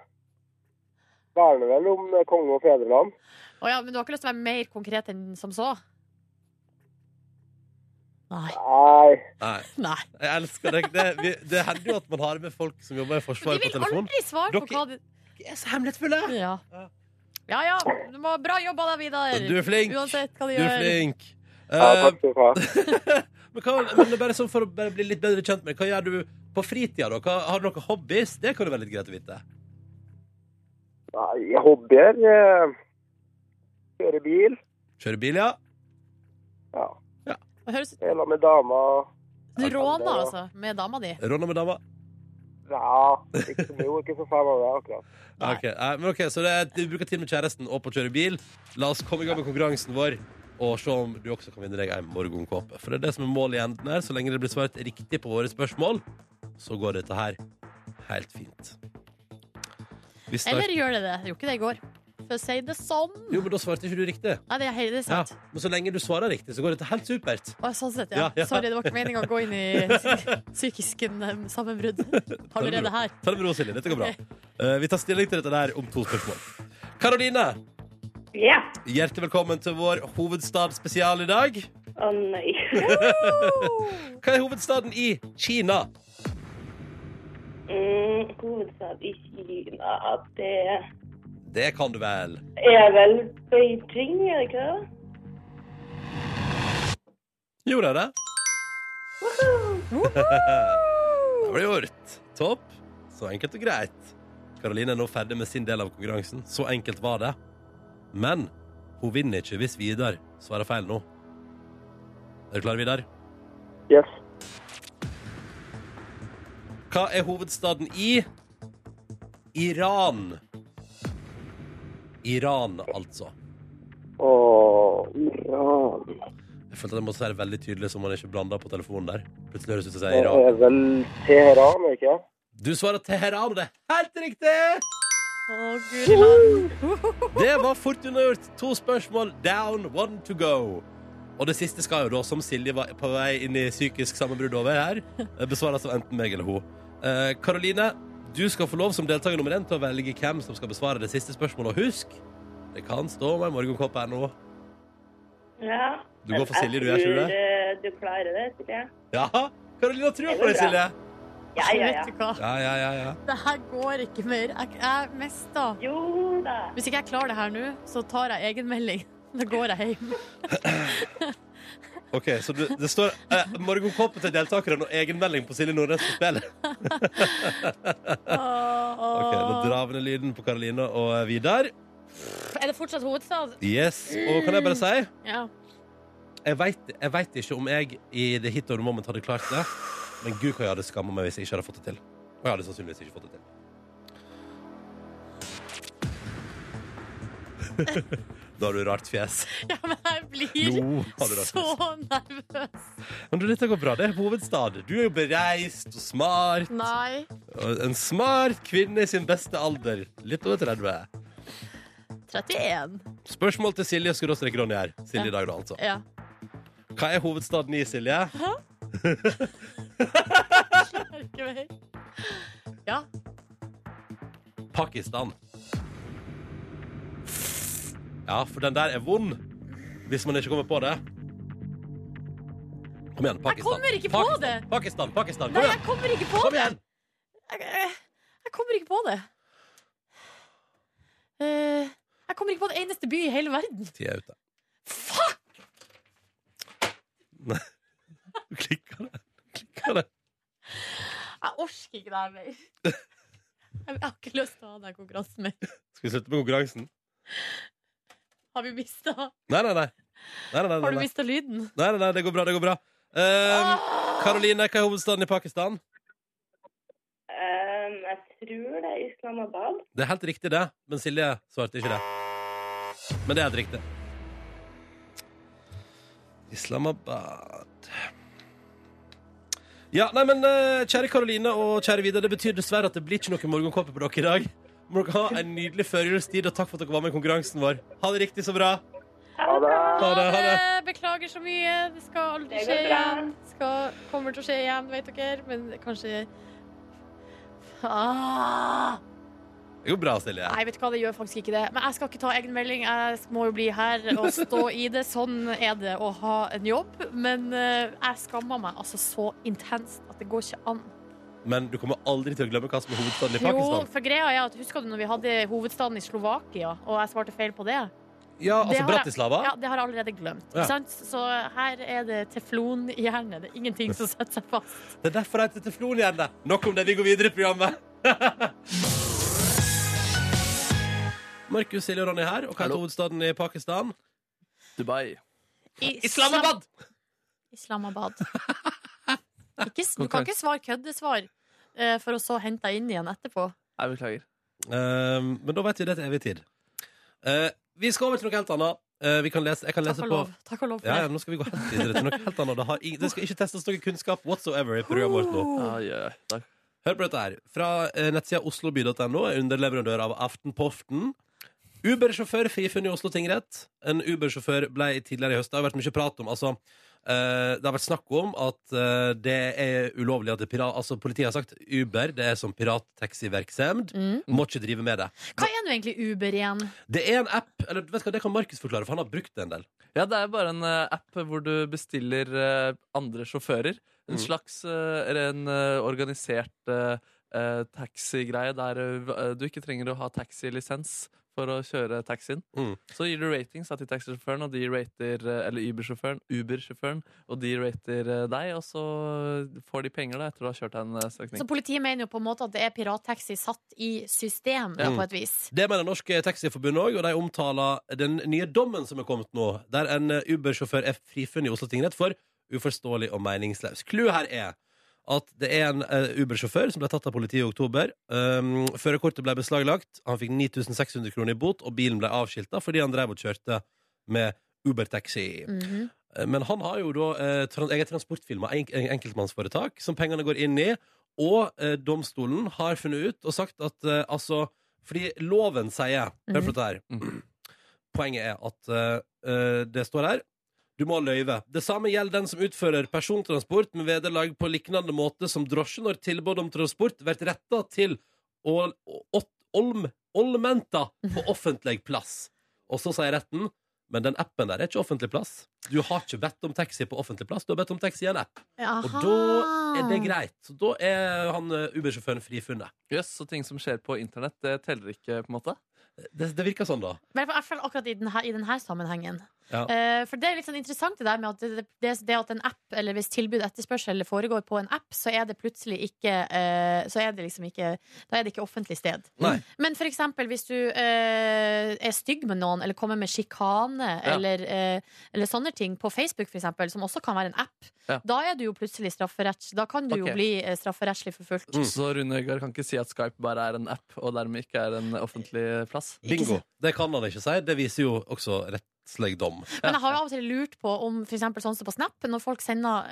Verner vel om konge og fedreland. Å ja, men du har ikke lyst til å være mer konkret enn som så? Nei. Nei. Nei, Nei. jeg elsker deg. Det, vi, det hender jo at man har med folk som jobber i Men Forsvaret de på vil telefon. aldri svare på Dere- hva de Jeg er så hemmelighetsfulle! Ja ja, ja. Du må ha bra jobba da, Vidar. Du er flink. Uansett hva du, Du er gjør. flink. Ja, Eh, takk skal du ha. men hva, men bare sånn for å bare bli litt bedre kjent med Hva gjør du på fritida? da? Hva, har du noen hobbies? Det kan det være litt greit å vite. Nei, hobbyer eh, Kjøre bil. Kjøre bil, ja. Ja. Det høres ut Dele med dama. Du råner altså med dama di. Råna med dama. Ja, ikke så mye. Ikke så fan av det akkurat. Ja, ok. Nei, men ok, Så det er, du bruker tid med kjæresten og på å kjøre bil. La oss komme i gang med konkurransen vår og se om du også kan vinne deg en morgenkåpe. For det er det som er målet i enden her. Så lenge det blir svart riktig på våre spørsmål, så går dette her helt fint. Vi Eller starter gjør det det? Jeg Gjorde ikke det i går. For å si det sånn. Jo, men da svarte ikke du riktig. Nei, det er, helt- det er Ja. sant. Men så lenge du svarer riktig, så går dette helt supert. Å, sånn sett, ja. Ja, ja. Sorry, det var ikke meninga å gå inn i psy- psykisk eh, sammenbrudd allerede her. Ta det med ro, Silje. Dette går bra. Eh, vi tar stilling til dette der om to spørsmål. Karoline, Ja. hjertelig velkommen til vår hovedstadsspesial i dag. nei. Hva er hovedstaden i Kina? Mm, hovedstad i Kina, det Det kan du vel. er vel Beijing, er det ikke det? Jo, det er det. det ble gjort. Topp. Så enkelt og greit. Karoline er nå ferdig med sin del av konkurransen. Så enkelt var det. Men hun vinner ikke hvis Vidar svarer feil nå. Er du klar, Vidar? Yes. Hva er hovedstaden i Iran? Iran, altså. Åh, Iran. Jeg følte at jeg måtte si det veldig tydelig, så man ikke blanda på telefonen der. Plutselig høres det ut som jeg Det sier Iran. er vel Teheran, er det ikke? Du svarer Teheran, og det er helt riktig! Å, guri land. Det var fort unnagjort. To spørsmål down, one to go. Og det siste skal jo da, som Silje var på vei inn i psykisk sammenbrudd over her, eh, besvares av enten meg eller hun. Eh, Karoline, du skal få lov som deltaker nummer én til å velge hvem som skal besvare det siste spørsmålet. Og husk, det kan stå om en morgenkopp her nå. Ja. Du går for Silje, du gjør ikke du det? det? Du klarer det, tror jeg. Ja, Karoline har trua på deg, Silje. Ja, ja, ja. Vet du hva? Ja, ja, ja, ja. Det her går ikke mer. Jeg, jeg mista. Jo da. Hvis ikke jeg klarer det her nå, så tar jeg egenmelding. Da går jeg hjem. OK, så du, det står eh, morgenkoppen til deltakerne og egenmelding på Silje Nordnes på spillet. OK, nå drar vi ned lyden på Karoline og eh, Vidar. Er det fortsatt hovedstad? Yes, og kan jeg bare si Ja. Jeg vet, jeg vet ikke om jeg i det hit or moment hadde klart det Men Gud, hva jeg hadde skammet meg hvis jeg ikke hadde fått det til Og jeg hadde sannsynligvis ikke fått det til Da har du rart fjes ja, men jeg blir Nå har du rart så fjes nervøs. Men du, dette går bra, det er hovedstad Du er jo bereist og smart Nei. og En smart kvinne i sin beste alder Litt over 30 31. Spørsmål til Silje, skulle også rekke Ronny her Silje i dag da, altså Ja. Hva er hovedstaden i, Silje? Ikke mer. Ja. Pakistan. Ja, for den der er vond. Hvis man ikke kommer på det. Kom igjen, Pakistan. kommer ikke på Pakistan, det. Pakistan, Pakistan. Nei, Kom jeg igjen! kommer ikke på Kom det. igjen! Jeg, jeg, jeg kommer ikke på det. Eh, jeg kommer ikke på den eneste by i hele verden. Tida er ute. Fuck! Nei. Du klikker det. Klikker det. Jeg orker ikke det her mer. Jeg jeg har ikke lyst til å ha den konkurransen mer. Skal vi slutte med konkurransen? Har vi mista Har Nei, nei, nei. Nei, nei, nei, du nei. mista lyden? nei, nei, nei det går bra. det går bra. Ehm, Karoline, hva er hovedstaden i Pakistan? Um, jeg tror det er Islamabad. Det er helt riktig, det. Men Silje svarte ikke det. Men det er helt riktig. Islamabad Ja, nei, men eh, kjære Karoline og kjære Vidar, det betyr dessverre at det blir ikke noe morgenkåpe på dere i dag. Må dere ha en nydelig førjulstid, og takk for at dere var med i konkurransen vår. Ha det riktig så bra. Ha det. Ha det, ha det. Beklager så mye. Det skal aldri Det går skje bra. igjen. Skal, kommer til å skje igjen, vet dere. Men kanskje ah! Det går bra, Silje. Nei, vet du hva, det gjør faktisk ikke det. Men jeg skal ikke ta egen melding. Jeg må jo bli her og stå i det. Sånn er det å ha en jobb. Men eh, jeg skammer meg altså så intenst at det går ikke an. Men du kommer aldri til å glemme hva som er hovedstaden i Jo, Pakistan. for greia er at Husker du når vi hadde hovedstaden i Slovakia, og jeg svarte feil på det? Det Ja, har altså jeg- Bratislava. Ja, Det har jeg allerede glemt. Ja. ikke Sant? Så her er det teflonhjerne. Det er ingenting som setter seg fast. Det er derfor jeg heter Teflonhjerne. Nok om det, vi går videre i programmet. Markus, Silje og Ronny her, og hva er Hallo. hovedstaden i Pakistan? Dubai. Islam- Islamabad! Islamabad. Ikke, s- du kan ikke svare køddesvar, eh, for å så hente deg inn igjen etterpå. Jeg beklager. Ehm, men da vet vi det til evig tid. Eh, vi skal over til noe helt annet. Eh, vi kan lese, jeg kan Takk lese og på lov. Takk og lov for ja, ja, det. Nå skal vi gå helt videre til noe helt annet. Det, har, ing- det skal ikke testes noe kunnskap whatsoever i programmet vårt nå. Ai, ai, ai. Takk. Hør på dette her. Fra eh, nettsida osloby.no, er underleverandør av Aftenpoften. Uber-sjåfør frifunnet i Oslo tingrett. En Uber-sjåfør ble tidligere i høst Det har vært mye prat om altså, Eh, det har vært snakk om at eh, det er ulovlig at det er pirat... Altså, politiet har sagt Uber, det er som pirattaxivirksomhet. Mm. Må ikke drive med det. Hva er nå egentlig Uber igjen? Det er en app Eller vet du hva, det kan Markus forklare, for han har brukt det en del. Ja, det er bare en eh, app hvor du bestiller eh, andre sjåfører. En Mm. slags eh, eller en eh, organisert eh, eh, taxigreie der eh, du ikke trenger å ha taxilisens for å kjøre taxien. Mm. Så gir du ratings da, til taxisjåføren, og de rater, eh, eller Uber-sjåføren, Uber-sjåføren, og de rater eh, deg, og så får de penger da, etter du har kjørt en eh, strekning. Så politiet mener jo på en måte at det er pirattaxi satt i system, Ja. på et vis. Det mener Norsk Taxiforbund òg, og de omtaler den nye dommen som er kommet nå, der en eh, Uber-sjåfør er frifunnet i Oslo tingrett for uforståelig og meningsløs. Clouet her er at det er en eh, Uber-sjåfør som ble tatt av politiet i oktober. Um, Førerkortet ble beslaglagt, han fikk 9600 kroner i bot, og bilen ble avskilta fordi han drev og kjørte med Uber-taxi. Mhm. Eh, Men han har jo da eh, tran- eget transportfirma, enk en- enkeltmannsforetak, som pengene går inn i. Og eh, domstolen har funnet ut og sagt at eh, altså Fordi loven sier Hør på dette her. Mm. Poenget er at eh, eh, det står her du må ha løyve. Det samme gjelder den som utfører persontransport med vederlag på liknende måte som drosje når tilbud om transport blir retta til ol- åt- olm, olmenta på offentlig plass. Og så sier retten men den appen der er ikke offentlig plass. Du har ikke bedt om taxi på offentlig plass. Du har bedt om taxi i en app. Og Aha. da Ah. er det greit. Så da er han eh, Uber-sjåføren frifunnet. Jøss, så ting som skjer på internett, det teller ikke, på en måte. Det, det virker sånn, da. I hvert fall- i hvert fall akkurat i denne, i denne sammenhengen. Ja. Eh, for det er litt sånn interessant det der med at det, det, det at en app, eller hvis tilbud og etterspørsel foregår på en app, så er det plutselig ikke eh, Så er det liksom ikke Da er det ikke offentlig sted. Nei. Men for eksempel hvis du eh, er stygg med noen, eller kommer med sjikane, Ja. eller, eh, eller sånne ting på Facebook, for eksempel, som også kan være en app, Ja. da er du jo plutselig strafferetts... Da kan du Ok. jo bli eh, strafferettslig forfulgt. Mm. Så Rune Øygard kan ikke si at Skype bare er en app, og dermed ikke er en offentlig plass. Bingo. Det kan han ikke si. Det viser jo også rettslig dom. Men jeg har jo av og til lurt på om for eksempel sånn som på Snap, når folk sender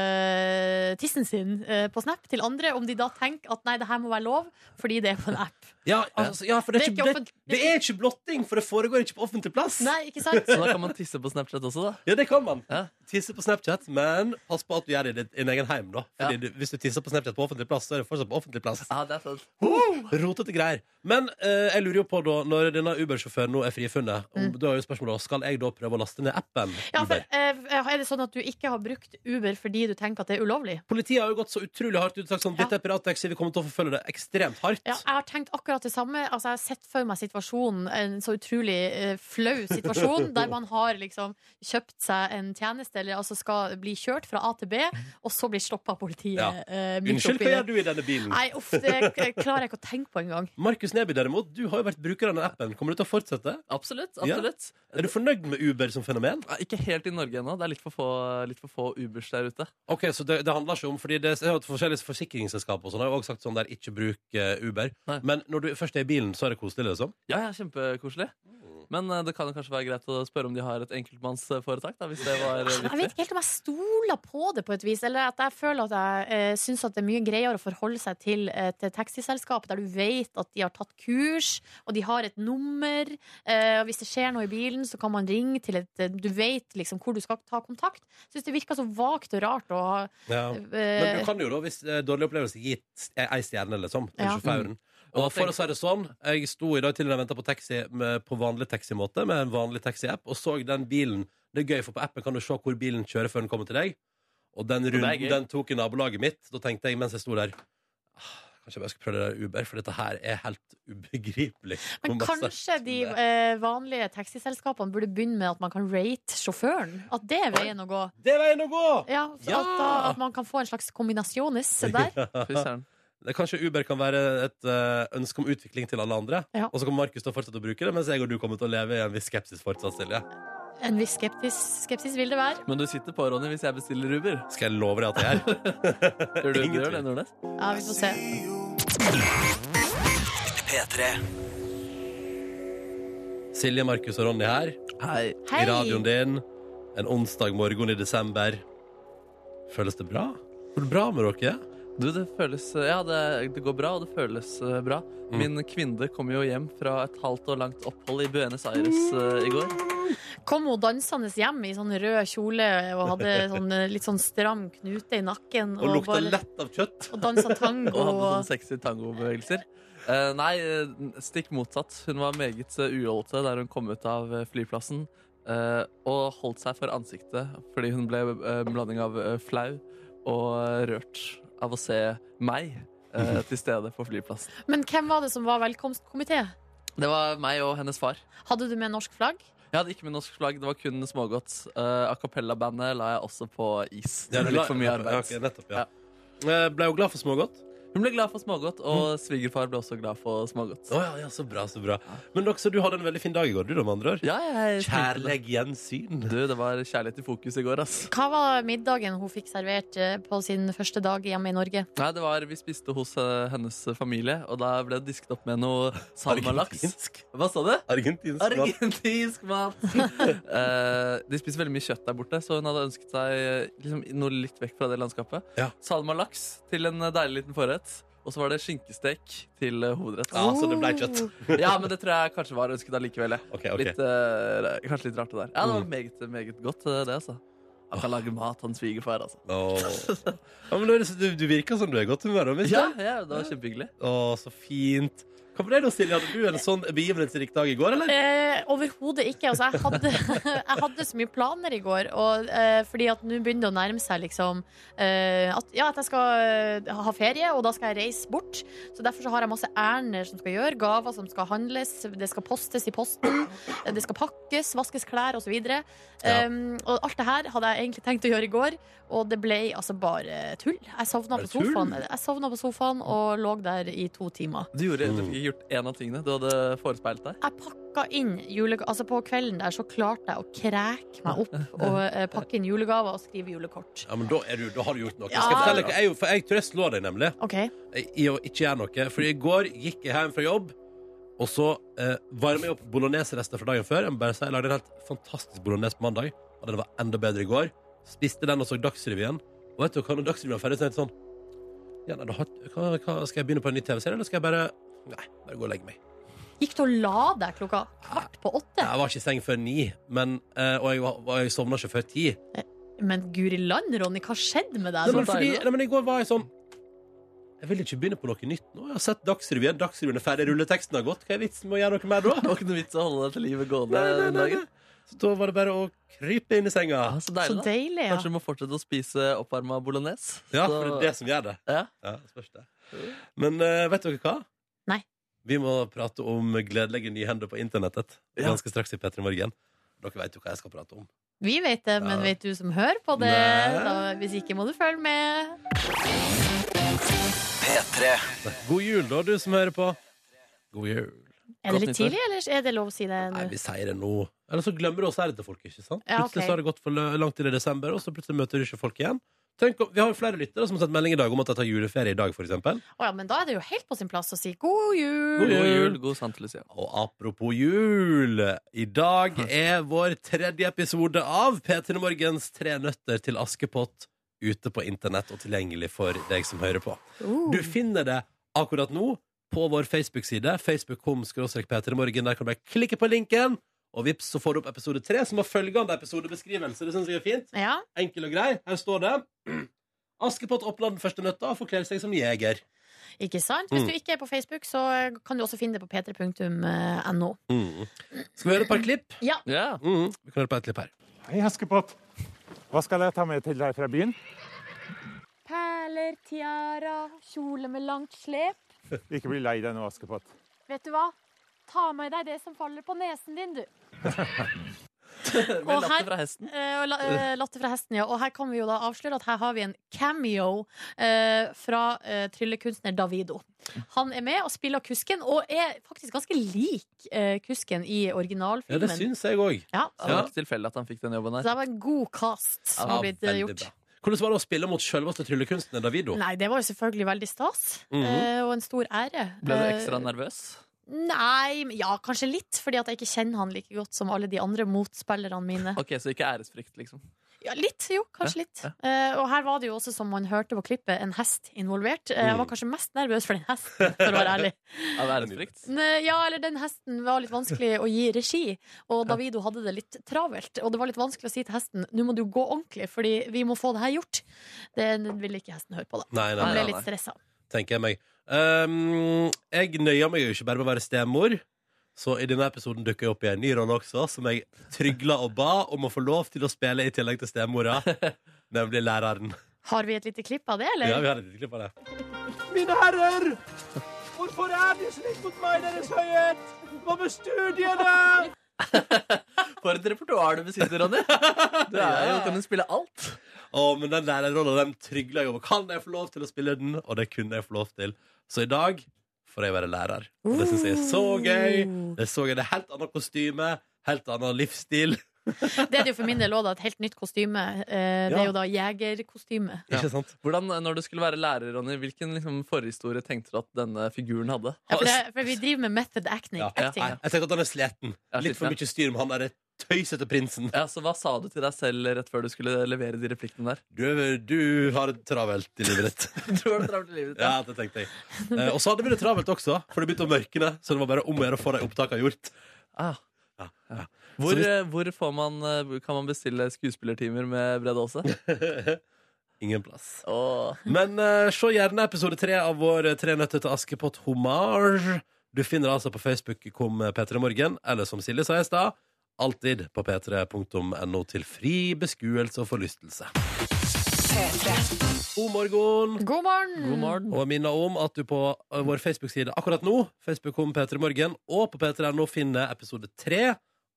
eh, tissen sin eh, på Snap til andre, om de da tenker at nei, det her må være lov, fordi det er på en app. Ja, altså, ja for det Det er, er ikke, ikke det, det er ikke blotting, for det foregår ikke på offentlig plass. Nei, ikke sant? Så da kan man tisse på Snapchat også, da. Ja, det kan man. Ja. Tisse på Snapchat, men pass på at du gjør det i din- din egen heim, da. Fordi Ja. du, hvis du tisser på Snapchat på offentlig plass, så er det fortsatt på offentlig plass. Ja, det er sant. Rotete greier. Men eh, jeg lurer jo på, da, når denne Uber-sjåføren nå er frifunnet, om, da er jo spørsmålet da, skal jeg da prøve å laste ned appen Mm. Ja, for, Uber? eh, er det sånn at du ikke har brukt Uber fordi du tenker at det er ulovlig? Politiet har jo gått så utrolig hardt ut og sagt sånn Ja. Dette er pirattaxi, vi kommer til å forfølge det ekstremt hardt. Ja, jeg har tenkt akkurat det samme. Altså, jeg har sett for meg situasjonen, en så utrolig eh, flau situasjon, der man har liksom kjøpt seg en tjeneste, eller altså skal bli kjørt fra A til B, og så blir stoppa av politiet. Mm. Ja. eh, midt Unnskyld, oppi hva det. gjør du i denne bilen? Nei, uff, det k- klarer jeg ikke å tenke på engang. Markus Neby, derimot, du har jo vært bruker av denne appen. Kommer du til å fortsette? Absolutt. Ja. absolutt Er du fornøyd med Uber som fenomen? Nei, Ikke helt i Norge ennå. Det er litt for få, litt for få Ubers der ute. Ok, så det, det handler ikke om Fordi det er jo et forskjellig forsikringsselskap og sånn. Jeg har jo også sagt sånn der, ikke bruk eh, Uber. Nei. Men når du først er i bilen, så er det koselig, liksom. Ja, ja, Kjempekoselig. Men eh, det kan jo kanskje være greit å spørre om de har et enkeltmannsforetak. da, hvis det var eh, Jeg viktig. vet ikke helt om jeg stoler på det på et vis, eller at jeg føler at jeg eh, syns at det er mye greiere å forholde seg til et taxiselskap der du vet at de har tatt kurs, og de har et nummer, eh, og hvis det skjer noe i bilen, så kan man ringe til et eh, Du vet liksom hvor du skal ta kontakt. Syns det virker så vagt og rart å ha Ja. Men du eh, kan jo da, hvis eh, dårlig opplevelse gitt ei stjerne, liksom, til Ja. Mm. sjåføren. Og Og for tenk- å si det sånn, jeg sto i dag til og venta på taxi med, på vanlig taximåte, med en vanlig taxiapp, og så den bilen. Det er gøy, for på appen kan du se hvor bilen kjører før den kommer til deg. Og den er runden gøy. den tok i nabolaget mitt. Da tenkte jeg mens jeg sto der «Ah, Kanskje jeg bare skal prøve det der Uber, for dette her er helt ubegripelig. men Hvor masse- kanskje de eh, vanlige taxiselskapene burde begynne med at man kan rate sjåføren? At det er veien å gå? Det er veien å gå! Ja, for Ja! At, da, at man kan få en slags kombinasjonis der. Fy søren. Det- Kanskje Uber kan være et eh, ønske om utvikling til alle andre. Ja. Og så kommer Markus til å fortsette å bruke det, mens jeg og du kommer til å leve i en viss skepsis fortsatt, Silje. En viss skeptis, skepsis vil det være. Men du sitter på, Ronny, hvis jeg bestiller Uber. Skal jeg love deg at jeg er? Gjør du Ingen gjør tvil. det, Nordnes? Ja, vi får se. Silje, Markus og Ronny her, Hei. Hei! i radioen din. En onsdag morgen i desember. Føles det bra? Går det bra med dere? Du, det føles eh, Ja, det, det går bra, og det føles eh, bra. Min kvinne kom jo hjem fra et halvt og langt opphold i Buenos Aires eh, i går. kom hun dansende hjem i sånn rød kjole og hadde sånn, eh, litt sånn stram knute i nakken. Og lukta bare- lett av kjøtt. Og dansa tango. Og hadde sånn og- sexy tangobevegelser. Eh, nei, eh, stikk motsatt. Hun var meget eh, ujollete der hun kom ut av eh, flyplassen. eh, og holdt seg for ansiktet fordi hun ble eh, en blanding av eh, flau og eh, rørt av å se meg eh, til stede på flyplassen. sånn- Men hvem var det som var velkomstkomité? Det var meg og hennes far. Hadde du med norsk flagg? Jeg hadde ikke med norsk flagg, det var kun smågodt. Uh, a cappella-bandet la jeg også på is. Det var litt for mye Ja, arbeid. ok, nettopp, ja. Eh, Ble jo glad for smågodt. Hun ble glad for smågodt, og Mm. svigerfar ble også glad for smågodt. Å ja, ja, så bra, så bra. Men også, du hadde en veldig fin dag i går, du da, med andre ord. Ja, jeg Kjærleg gjensyn. Du, det var kjærlighet i fokus i går, ass. Hva var middagen hun fikk servert eh, på sin første dag hjemme i Norge? Nei, det var, Vi spiste hos eh, hennes familie, og da ble det disket opp med noe salmalaks. Argentinsk. Hva sa du? Argentinsk. mat. Argentinsk mat! Eh, de spiser veldig mye kjøtt der borte, så hun hadde ønsket seg eh, liksom, noe litt vekk fra det landskapet. Ja. Salmalaks til en eh, deilig liten forrett. Og så var det skinkestek til eh, hovedrett. Ja, så det ble kjøtt. Ja, men det tror jeg kanskje var ønsket allikevel. jeg. Ok, ok. Litt, eh, kanskje litt rart det der. Ja, det var meget, meget godt, eh, det, altså. Han kan lage mat, han svigerfar, altså. Åh. Ja, men du, liksom- du, du virker som du er i godt humør. om ikke Ja, det? ja, det var kjempehyggelig. Å, så fint. Hva med deg da, Silje? Hadde du en sånn begivenhetsrik dag i går, eller? Eh, Overhodet ikke. Altså, jeg, hadde, jeg hadde så mye planer i går, og, eh, fordi at nå begynner det å nærme seg liksom, eh, at, ja, at jeg skal eh, ha ferie, og da skal jeg reise bort. Så Derfor så har jeg masse ærender som skal gjøre, gaver som skal handles, det skal postes i posten, eh, det skal pakkes, vaskes klær osv. videre Ja. Um, og alt det her hadde jeg egentlig tenkt å gjøre i går, og det ble altså bare tull. Jeg sovna Bare på tull? sofaen, jeg sovna på sofaen og lå der i to timer. Du, gjorde, du fikk ikke gjort én av tingene du hadde forespeilt deg. Jeg pakka inn julega Altså På kvelden der så klarte jeg å kreke meg opp og eh, pakke inn julegaver og skrive julekort. Ja, men da, er du, da har du gjort noe. Ja. Skal jeg fortelle deg, jeg, for jeg tror jeg slår deg, nemlig, OK. eh, i å ikke gjøre noe. For i går gikk jeg hjem fra jobb, og så eh, varmer jeg opp bolognese-rester fra dagen før. Jeg, må bare si, jeg lagde en helt fantastisk bolognese på mandag, og den var enda bedre i går. Spiste den og så Dagsrevyen. Og vet du hva, når Dagsrevyen var ferdig, så tenkte jeg sånn ja, nei, da, har- hva, hva, Skal jeg begynne på en ny TV-serie, eller skal jeg bare Nei, bare gå og legge meg. Gikk du og la deg klokka kvart på åtte? Jeg var ikke i seng før ni, men, eh, og jeg, var- og jeg sovna ikke før ti. Men guri land, Ronny, hva skjedde med deg? Nei, men, da? fordi, nei, men i går var jeg sånn Jeg vil ikke begynne på noe nytt nå. Jeg har sett Dagsrevyen. Dagsrevyen er ferdig, rulleteksten har gått. Hva er vitsen med å gjøre noe mer Det da? var ikke noe vits å holde deg til livet gående Nei, nei, den nei, dagen. nei. Så da var det bare å krype inn Ja, i senga. så Så deilig, da. deilig, ja. Kanskje du må fortsette å spise oppvarma bolognese. Ja, Så- for det er det som gjør det. Ja. Ja, det spørs det. Men eh, vet dere hva? Nei. Vi må prate om gledelige nyhender på internettet Ja. ganske straks i P3 Morgen. Dere vet jo hva jeg skal prate om. Vi vet det, men Ja. vet du som hører på det? Nei. Da, hvis ikke må du følge med. God jul, da, du som hører på. God jul. Er det Godt litt nyttår. tidlig, eller er det lov å si det nå? Nei, vi sier det nå. Eller så glemmer du å si det til folk. ikke sant? Ja, ok. Plutselig så har det gått for lø- langt inn i desember, og så plutselig møter du ikke folk igjen. Tenk om, vi har jo flere lyttere som har sett melding i dag om at de tar juleferie i dag, for eksempel. Å ja, men da er det jo helt på sin plass å si god jul! God jul, god Sant Lucia. Og apropos jul, i dag er vår tredje episode av P3 Morgens Tre nøtter til Askepott ute på internett og tilgjengelig for deg som hører på. Oh. Du finner det akkurat nå på vår Facebook-side. Facebook.com P3morgen. Der kan du bare klikke på linken, og vips, så får du opp episode tre, som har følgende episodebeskrivelse. Det synes jeg er fint. Ja. Enkel og grei. Her står det. Askepott åpner den første nøtta og forkler seg som jeger. Ikke sant? Hvis Mm. du ikke er på Facebook, så kan du også finne det på p3.no. Skal vi høre et par klipp? Mm, Ja. Ja. Vi kan høre på et klipp her. Hei, Askepott. Hva skal jeg ta med til deg fra byen? Perler, tiara, kjole med langt slep. Ikke bli lei deg nå, Askepott. Vet du hva? Ta med deg det som faller på nesen din, du. Med Og latter her- fra hesten. Eh, og la- eh, Latter fra hesten, ja. Og her kan vi jo da avsløre at her har vi en cameo eh, fra eh, tryllekunstner Davido. Han er med og spiller kusken, og er faktisk ganske lik eh, kusken i Ja, det originalfilmen. syns jeg òg. Ja, Så det var ikke tilfeldig at han fikk den jobben Så der. det var en god cast som har blitt eh, gjort. Hvordan var det å spille mot selveste tryllekunstner Davido? Nei, det var jo selvfølgelig veldig stas, Mhm. eh, og en stor ære. Ble du Eh, ekstra nervøs? Nei, men- ja, kanskje litt, fordi at jeg ikke kjenner han like godt som alle de andre motspillerne mine. Ok, Så ikke æresfrykt, liksom. Ja, litt, jo, kanskje litt. ja. Eh, og her var det jo også, som man hørte på klippet, en hest involvert. Eh, jeg Mm. var kanskje mest nervøs for den hesten, for å være ærlig. Ja, det er ærefrykt. Ne, Ja, eller den hesten var litt vanskelig å gi regi, og Davido hadde det litt travelt. Og det var litt vanskelig å si til hesten nå må du gå ordentlig, fordi vi må få det her gjort. Det ville ikke hesten høre på, da. Nei, nei, Han nei, ble nei, litt nei. stressa. tenker jeg meg. Ehm, jeg nøyer meg jo ikke bare med å være stemor, så i denne episoden dukker jeg opp i en ny rolle også, som jeg trygla og ba om å få lov til å spille i tillegg til stemora, nemlig læreren. Har vi et lite klipp av det, eller? Ja, vi har et lite klipp av det. Mine herrer! Hvorfor er de slik mot meg, Deres Høyhet? Hva med studiene? For et repertoar du besitter, Ronny. Du er jo, kan jo spille alt. Å, men den lærerrollen den trygla jeg over. Kan jeg få lov til å spille den? Og det kunne jeg få lov til. Så i dag får jeg være lærer. Og det syns jeg er så gøy. Det er så gøy. Det er helt annet kostyme, helt annen livsstil. Det er det jo for min del òg, da. Et helt nytt kostyme. Eh, Det Ja. er jo da jegerkostyme. Ja. Ikke sant? Hvordan, når du skulle være lærer, Ronny, hvilken liksom, forhistorie tenkte du at denne figuren hadde? Ja, for, det, for vi driver med method acting. Ja. acting. Nei, jeg tenker at han er sliten. Ja, Litt for sliten, mye styr med han derre tøysete prinsen. Ja, så Hva sa du til deg selv rett før du skulle levere de replikkene der? Du, du har det travelt i livet ditt. Du har det travelt i livet ditt. Ja, det tenkte jeg. Eh, og så hadde vi det travelt også, for det begynte å mørkne. Så det var bare om å gjøre å få de opptakene gjort. Ah. Ja, Ja. Hvor, Så hvis- eh, hvor får man, eh, kan man bestille skuespillertimer med Brede Aase? Ingen plass. Åh. Men eh, se gjerne episode tre av vår eh, Tre nøtter til Askepott homage. Du finner det altså på Facebook kom eh, P3 Morgen, eller som Silje sa i stad, alltid på p3.no til fri beskuelse og forlystelse. God morgen! God morgen! God morgen. Og jeg minner om at du på ø, vår Facebook-side akkurat nå, Facebook.com P3 Morgen, og på P3.no finner episode 3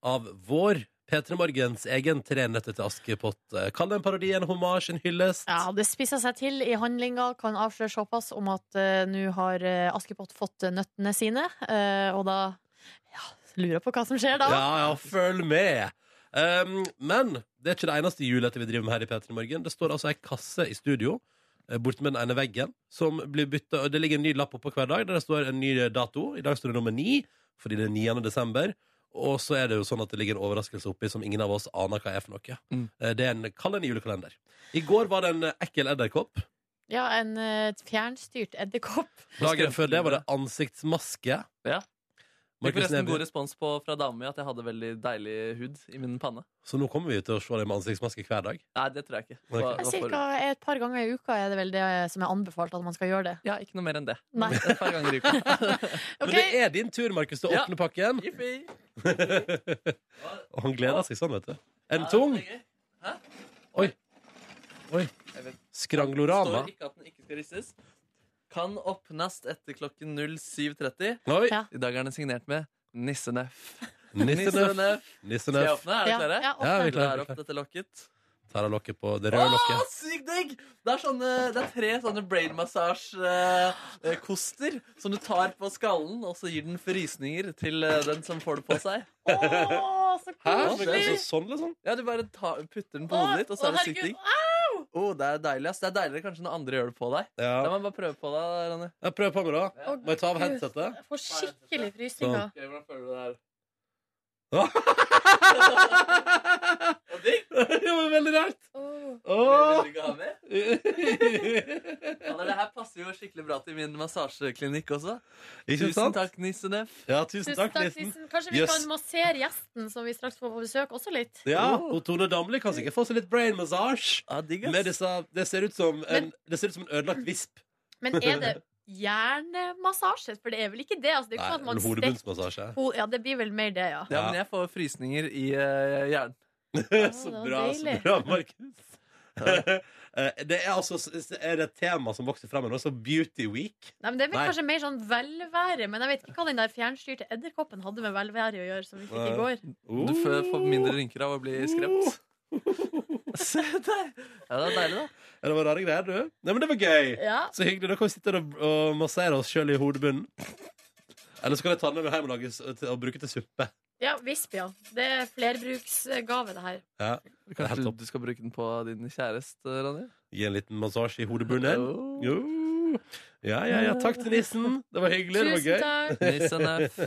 av vår P3 Morgens egen Tre nøtter til Askepott. Eh, Kall det en parodi, en hommage, en hyllest. Ja, det spisser seg til i handlinga. Kan avsløre såpass om at eh, nå har eh, Askepott fått eh, nøttene sine, eh, og da ja, lurer jeg på hva som skjer da. Ja, ja, følg med! Um, men det er ikke det eneste juleetet vi driver med her i P3 Morgen. Det står altså ei kasse i studio eh, borte med den ene veggen, som blir bytta, og det ligger en ny lapp oppå hver dag der det står en ny dato. I dag står det nummer ni, fordi det er 9. desember. Og så er det jo sånn at det ligger en overraskelse oppi som ingen av oss aner hva er for noe. Mm. Eh, Det er en, Kall det en julekalender. I går var det en eh, ekkel edderkopp. Ja, en eh, fjernstyrt edderkopp. Dagen før det var det ansiktsmaske. Ja. Fikk Markus forresten god Neby. respons på fra damen min at jeg hadde veldig deilig hud i min panne. Så nå kommer vi til å se det med ansiktsmaske hver dag. Nei, det tror jeg ikke. Ok. Hva- hva får Cirka du? et par ganger i uka er det vel det som er anbefalt at man skal gjøre det. Ja, ikke noe mer enn det. Nei. Et par ganger i uka. Men Ok, det er din tur, Markus, til å Ja. åpne pakken. Jippi! Og han gleder seg sånn, vet du. En tung Ja, det er gøy. Det skrangolorama. står ikke at den ikke skal ristes. Kan åpnes etter klokken 07.30. Oi! Ja. I dag er den signert med Nissenøff. Nissenøff. Nissenøff. Skal jeg Nissenøff. åpne? Er ja, dere klare? ja, Ja, vi åpne. er klare, Drar vi er opp dette lokket. Tar av lokket på det røde lokket. Sykt digg! Det er, sånne, det er tre sånne brain massage-koster som du tar på skallen, og så gir den frysninger til eh, den som får det på seg. Å, så Hæ? koselig! Men altså, sånn, liksom? Ja, Du bare tar, putter den på Å, hodet ditt, og så å, er det sykt herregud. digg. Oh, det er deilig, ass. Det er deiligere kanskje når andre gjør det på deg. La Ja. meg bare prøve på deg, Ronny. Jeg prøver på meg, da. Å, Må jeg ta av Gud, headsetet? jeg Får skikkelig frysninger. Ok, hvordan føler du det her? det var veldig rart. Åh. Åh. Vil du ikke ha mer? Ja, det her passer jo skikkelig bra til min massasjeklinikk også. Ikke Tusen sant? takk, Nissenef. Ja, tusen Tusen takk, takk, Nissen. Nissen. Kanskje vi Jøss. kan massere gjesten som vi straks får på besøk, også litt? Ja, og Tone Damli kan sikkert få seg litt brain massage. Ja, digg, Med ass. disse, det, ser ut som en, det ser ut som en ødelagt visp. Men er det hjernemassasje? For det er vel ikke det? Altså, det er Nei, ikke sånn at man en stekker hodebunnsmassasje. ho- Ja, det blir vel mer det, ja. Ja, men jeg får frysninger i eh, hjernen. Så det var bra, så deilig. bra, Markus. Eh, det er altså er det et tema som vokser frem nå, så Beauty Week. Nei, men det er vel Nei. kanskje mer sånn velvære, men jeg vet ikke hva den der fjernstyrte edderkoppen hadde med velvære å gjøre, som vi fikk i Nei. går. Du Oh. får får mindre rynker av å bli skremt. Se der! Ja, det er deilig, da. Ja, Det var rare greier, du. Nei, men det var gøy. Ja. Så hyggelig. Da kan vi sitte og, og massere oss sjøl i hodebunnen. Eller så kan jeg ta den med meg hjem og, lage, s- til- og bruke til suppe. ja, visp, ja. Det er flerbruksgave, det her. Ja, det er helt Kanskje topp. du skal bruke den på din kjæreste, Ronny? Gi en liten massasje i hodebunnen. Oh. Jo. Ja, ja, ja. Takk til nissen. Det var eh. hyggelig. Det var Tusen gøy. takk. Nice enough.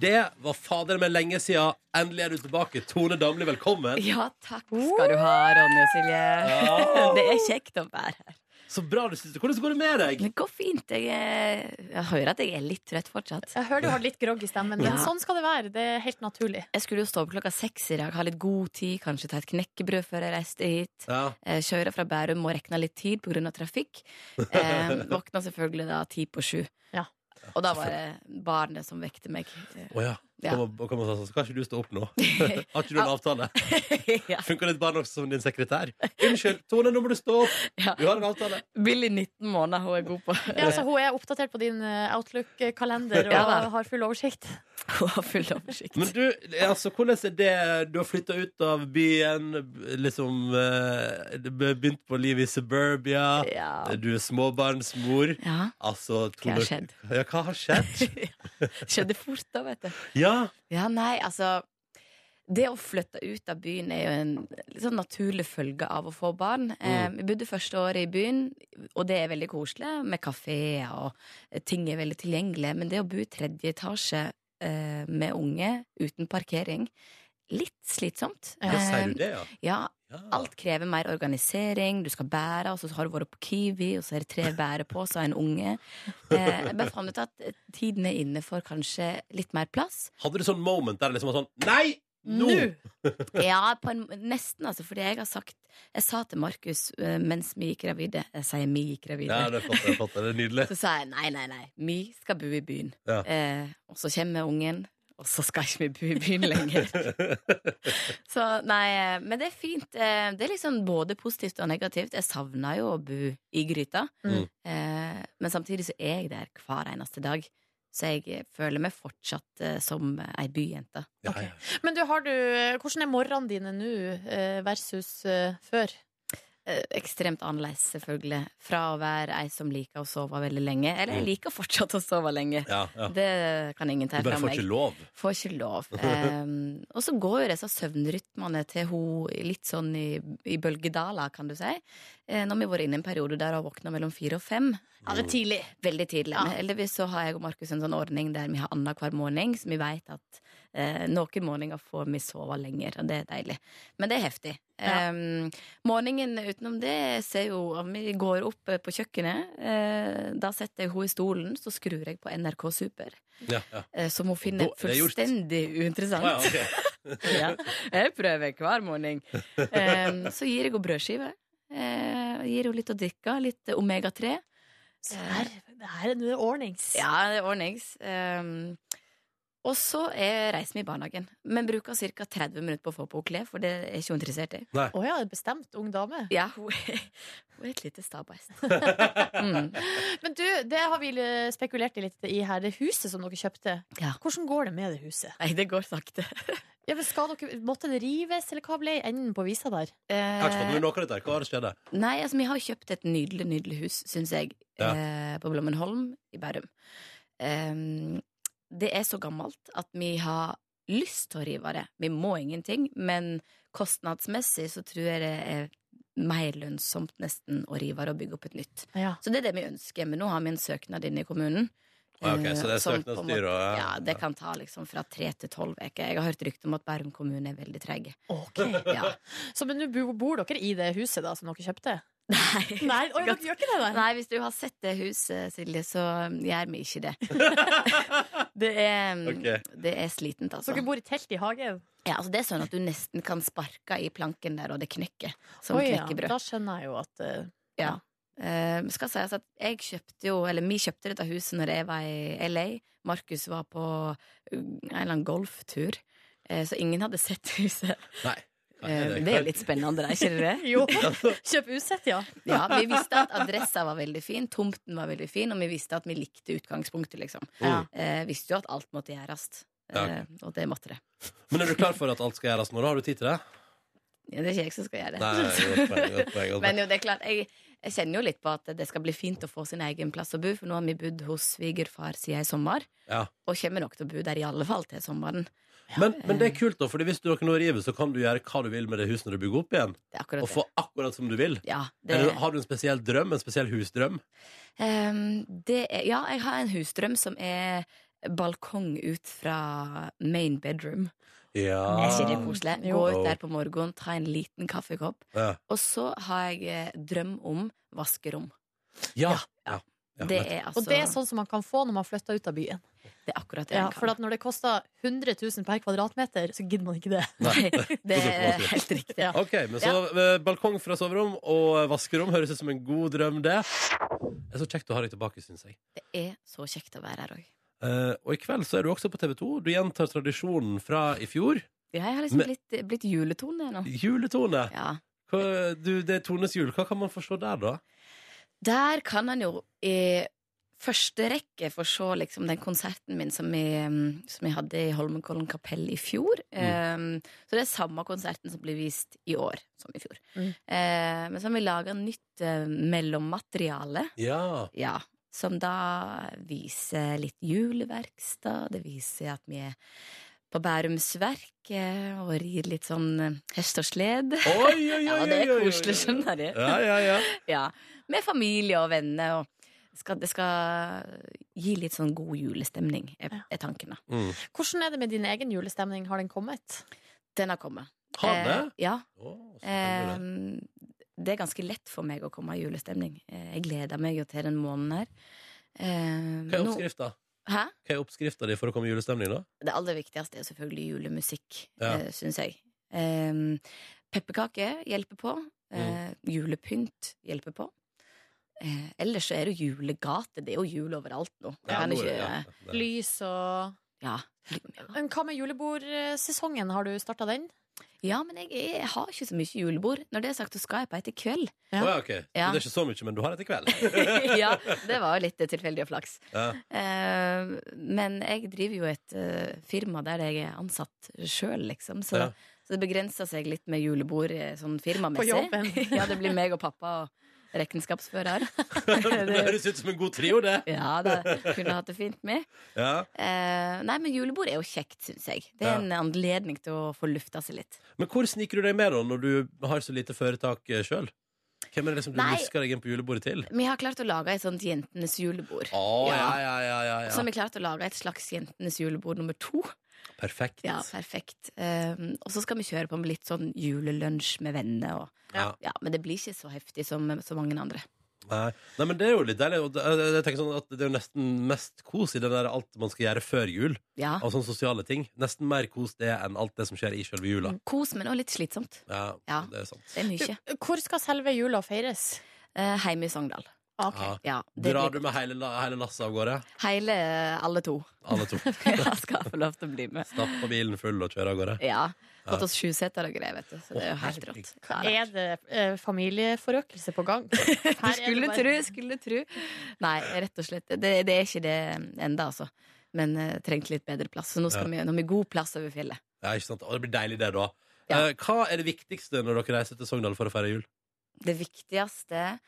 Det var fader meg lenge siden. Endelig er du tilbake. Tone Damli, velkommen. Ja, takk skal du ha, Ronny og Silje. Det er kjekt å være her. Så bra du synes det. Hvordan går det med deg? Det går fint. Jeg, er- jeg hører at jeg er litt trøtt fortsatt. Jeg hører du har litt grogg i stemmen, men Ja. sånn skal det være. Det er helt naturlig. Jeg skulle jo stå opp klokka seks i dag, ha litt god tid, kanskje ta et knekkebrød før jeg reiste hit. Ja. Eh, Kjøre fra Bærum og rekna litt tid pga. trafikk. Eh, våkna selvfølgelig da ti på sju. Ja. Og da var det barnet som vekte meg. Eh, Å ja. Ja. Kom og, kom og, sa sånn, skal ikke du stå opp nå? Har ikke du en avtale? ja. Funker litt barn også som din sekretær? Unnskyld, Tone, nå må du stå opp! Ja. Du har en avtale. Billy 19 måneder, hun er god på. Ja, altså, hun er oppdatert på din eh, Outlook-kalender og Ja da. har full oversikt. Hun har full oversikt. Men du, altså, hvordan er det Du har flytta ut av byen, liksom eh, det ble Begynt på livet i suburbia. Ja. Du er småbarnsmor. ja. Altså, Hva har skjedd? Ja, hva har skjedd? Skjedde fort da, vet du. Ja, Ja, nei, altså Det å flytte ut av byen er jo en litt sånn naturlig følge av å få barn. Mm. Eh, vi bodde første året i byen, og det er veldig koselig med kafeer og eh, ting er veldig tilgjengelig. Men det å bo i tredje etasje eh, med unge uten parkering Litt slitsomt. ja Eh, sier du det, ja? ja, ja. alt krever mer organisering. Du skal bære, og så har du vært på Kiwi, og så er det tre bæreposer og en unge. Eh, jeg bare fant ut at eh, tiden er inne for kanskje litt mer plass. Hadde du sånn moment der det liksom var sånn Nei! Nå! Ja, på en, nesten, altså. Fordi jeg har sagt Jeg sa til Markus eh, mens vi gikk gravide Jeg sier vi gikk Ja, gravide. det er flott. Det er, flott, det er nydelig. så sa jeg nei, nei, nei. Vi skal bo i byen. Ja. Eh, og så kommer ungen, og så skal ikke vi bo i byen lenger. så nei, eh, men det er fint. Eh, det er liksom både positivt og negativt. Jeg savna jo å bo i gryta. Mm. Eh, men samtidig så er jeg der hver eneste dag. Så jeg eh, føler meg fortsatt eh, som ei byjente. Ja, Ok. ja. Men du, har du, hvordan er morgenene dine nå eh, versus eh, før? Eh, Ekstremt annerledes, selvfølgelig. Fra å være ei som liker å sove veldig lenge. Eller jeg liker fortsatt å sove lenge. Mm. ja, ja. Det kan ingen ta Du bare fra får meg. ikke lov. Får ikke lov. Ehm, og så går jo disse søvnrytmene til hun litt sånn i, i bølgedaler, kan du si. Eh, Nå har vi vært inne i en periode der hun våkner mellom fire og fem. Ja, det er tidlig. Veldig tidlig. Ja. Men heldigvis så har jeg og Markus en sånn ordning der vi har annenhver morgen, så vi veit at eh, noen morgener får vi sove lenger, og det er deilig. Men det er heftig. Ja. Em, morgenen utenom det ser jo at Vi går opp eh, på kjøkkenet. Eh, da setter jeg henne i stolen, så skrur jeg på NRK Super. Ja, ja. Eh, som hun Da finner er det gjort. fullstendig uinteressant. Å, ja, ok. ja. Jeg prøver hver morgen. Em, så gir jeg henne brødskive. Eh, gir henne litt å drikke, litt eh, Omega-3. Så her, det her er nå ordnings. Ja, det er ordnings. Ehm, og så er- reiser vi i barnehagen, men bruker ca. 30 minutter på å få på henne klær, for det er ikke hun interessert i. Å ja, en bestemt ung dame. Ja, hun er, hun er et lite stabbeist. Mm. Men du, det har vi eh, spekulert i litt i her. Det huset som dere kjøpte, Ja. hvordan går det med det huset? Nei, det går sakte. Ja, men skal dere, måtte det rives, eller hva ble enden på visa der? Jeg har ikke fått med meg noe av dette. her. Hva har skjedd? Nei, altså vi har jo kjøpt et nydelig, nydelig hus, syns jeg, Ja. eh, på Blommenholm i Bærum. Ehm, det er så gammelt at vi har lyst til å rive det. Vi må ingenting, men kostnadsmessig så tror jeg det er mer lønnsomt nesten å rive det og bygge opp et nytt. Ja. Så det er det vi ønsker, men nå har vi en søknad inne i kommunen. Ah, ok, så det er eh, som på en søknadsstyre, måte- og- Ja, det kan ta liksom fra tre til tolv uker. Jeg har hørt rykte om at Bærum kommune er veldig trege. Ok. Ja. Så men nå bo- bor dere i det huset da, som dere kjøpte? Nei. Nei, oi, dere gjør ikke det der. Nei, hvis du har sett det huset, Silje, så gjør vi ikke det. det, er, mm, Ok. det er slitent, Så altså. dere bor i telt i hagen? Ja, altså. Det er sånn at du nesten kan sparke i planken der, og det knekker som Oi, Ja, knekkebrød. da skjønner jeg jo at eh, Eh, skal sies at jeg kjøpte jo, eller vi kjøpte dette huset når jeg var i LA. Markus var på uh, en eller annen golftur. eh, Så ingen hadde sett huset. Nei. Eh, Det er jo litt spennende, da, ikke det? Jo, kjøp usett, ja. Ja, Vi visste at adressa var veldig fin, tomten var veldig fin, og vi visste at vi likte utgangspunktet, liksom. Ja. eh, visste jo at alt måtte gjøres. Ja, Eh, og det måtte det. Men er du klar for at alt skal gjøres nå? da? Har du tid til det? Ja, det er ikke jeg som skal gjøre det. Nei, godt poeng, godt poeng, godt Men poeng. jo, det er klart, jeg, jeg kjenner jo litt på at det skal bli fint å få sin egen plass å bo, for nå har vi bodd hos svigerfar siden i sommer, Ja. og kommer nok til å bo der i alle fall til sommeren. Men, men det er kult, da, Fordi hvis du nå river, så kan du gjøre hva du vil med det huset når du bygger opp igjen. Det er Og akkurat det. få akkurat som du vil. Ja, det, Eller, har du en spesiell drøm? En spesiell husdrøm? Ehm, det er, ja, jeg har en husdrøm som er balkong ut fra main bedroom. Ja. Er ikke det koselig? Gå Jo. ut der på morgenen, ta en liten kaffekopp. Ja. Og så har jeg eh, drøm om vaskerom. Ja. ja. ja. Det er altså Og det er sånn som man kan få når man flytter ut av byen. Det er akkurat det Ja, jeg for kan. at når det koster 100 000 per kvadratmeter, så gidder man ikke det. Nei. Det er Nei. helt riktig. Ja. Ok, men så eh, balkong fra soverom og eh, vaskerom høres ut som en god drøm, det. Det er så kjekt å ha deg tilbake, syns jeg. Det er så kjekt å være her òg. Eh, og i kveld så er du også på TV 2. Du gjentar tradisjonen fra i fjor. Ja, jeg har liksom Men- blitt, blitt juletone nå. Juletone. Ja. Hva, du, det er Tones jul. Hva kan man forstå der, da? Der kan en jo i første rekke få se liksom, den konserten min som jeg, mm, som jeg hadde i Holmenkollen kapell i fjor. Um, så det er samme konserten som blir vist i år som i fjor. Mm. Eh, men så har vi laga nytt eh, mellommateriale. Ja. Ja, som da viser litt juleverksted. Det viser at vi er på Bærums Verk eh, og rir litt sånn eh, hest og sled. Oi, oi, oi, oi, Ja, det er oi, oi, oi. koselig, skjønner du. Ja, ja, ja. Ja, med familie og venner. Og skal, det skal gi litt sånn god julestemning, er, er tanken. da. Mm. Hvordan er det med din egen julestemning? Har den kommet? Den har kommet. Har det? Eh, ja. Å, så Eh, spennende. det er ganske lett for meg å komme i julestemning. Eh, jeg gleder meg jo til den måneden her. Eh, Hva er nå- oppskrifta? Hæ? Hva er oppskrifta di for å komme i julestemning, da? Det aller viktigste er selvfølgelig julemusikk, Ja. eh, syns jeg. Eh, Pepperkaker hjelper på. Eh, Mm. julepynt hjelper på. Eh, ellers så er det jo julegate. Det er jo jul overalt nå. Jeg Ja, kan nå er ikke, det- ja, eh, det- Lys og Ja. Men Hva med julebordsesongen? Har du starta den? ja, men jeg, jeg har ikke så mye julebord. Når det er sagt, så skal jeg på et i kveld. Å, ja, ok. Ja. Så det er ikke så mye, men du har det til kveld? ja, det var jo litt tilfeldig og flaks. Ja. Eh, men jeg driver jo et eh, firma der jeg er ansatt sjøl, liksom. Så, Ja. så det begrenser seg litt med julebord eh, sånn firmamessig. På jobben. ja, det blir meg og pappa og regnskapsfører. det høres ut som en god trio, det. ja, det kunne jeg hatt det fint med. Ja. Eh, nei, men julebord er jo kjekt, syns jeg. Det er Ja. en anledning til å få lufta seg litt. Men hvor sniker du deg med da, når du har så lite føretak eh, sjøl? Hvem er det liksom du Nei. lusker deg inn på julebordet til? Vi har klart å lage et sånt jentenes julebord. Å, ja, ja, ja, Ah, ja, Så har ja. vi klart å lage et slags jentenes julebord nummer to. Perfekt. Ja, perfekt. Um, og så skal vi kjøre på med litt sånn julelunsj med venner. Og, Ja. ja, men det blir ikke så heftig som så mange andre. Nei. Nei, men det er jo litt deilig. og det- Jeg jeg tenker sånn at Det er jo nesten mest kos i det der alt man skal gjøre før jul, Ja. av sånne sosiale ting. Nesten mer kos det enn alt det som skjer i sjølve jula. Kos, men også litt slitsomt. Ja, Mm. Ja. det er sant. Det er mye. Hvor skal selve jula feires? Uh, Hjemme i Sogndal. Ok. Ja. Ja, det Drar du blir med hele, la- hele lasset av gårde? Hele eh, alle to Alle to. Ja, skal få lov til å bli med. Stapper bilen full og kjører av gårde? Ja. Fått oss sjuseter og greier, vet du. Så det er jo Å, helt herregud. rått. Ja, da. Er det eh, familieforøkelse på gang? Du skulle tru, skulle tru. Nei, rett og slett. Det, det er ikke det enda, altså. Men eh, trengte litt bedre plass. Så nå skal vi, nå har vi god plass over fjellet. Ja, ikke sant? Og det blir deilig, det, da. Ja. Eh, Hva er det viktigste når dere reiser til Sogndal for å feire jul? Det viktigste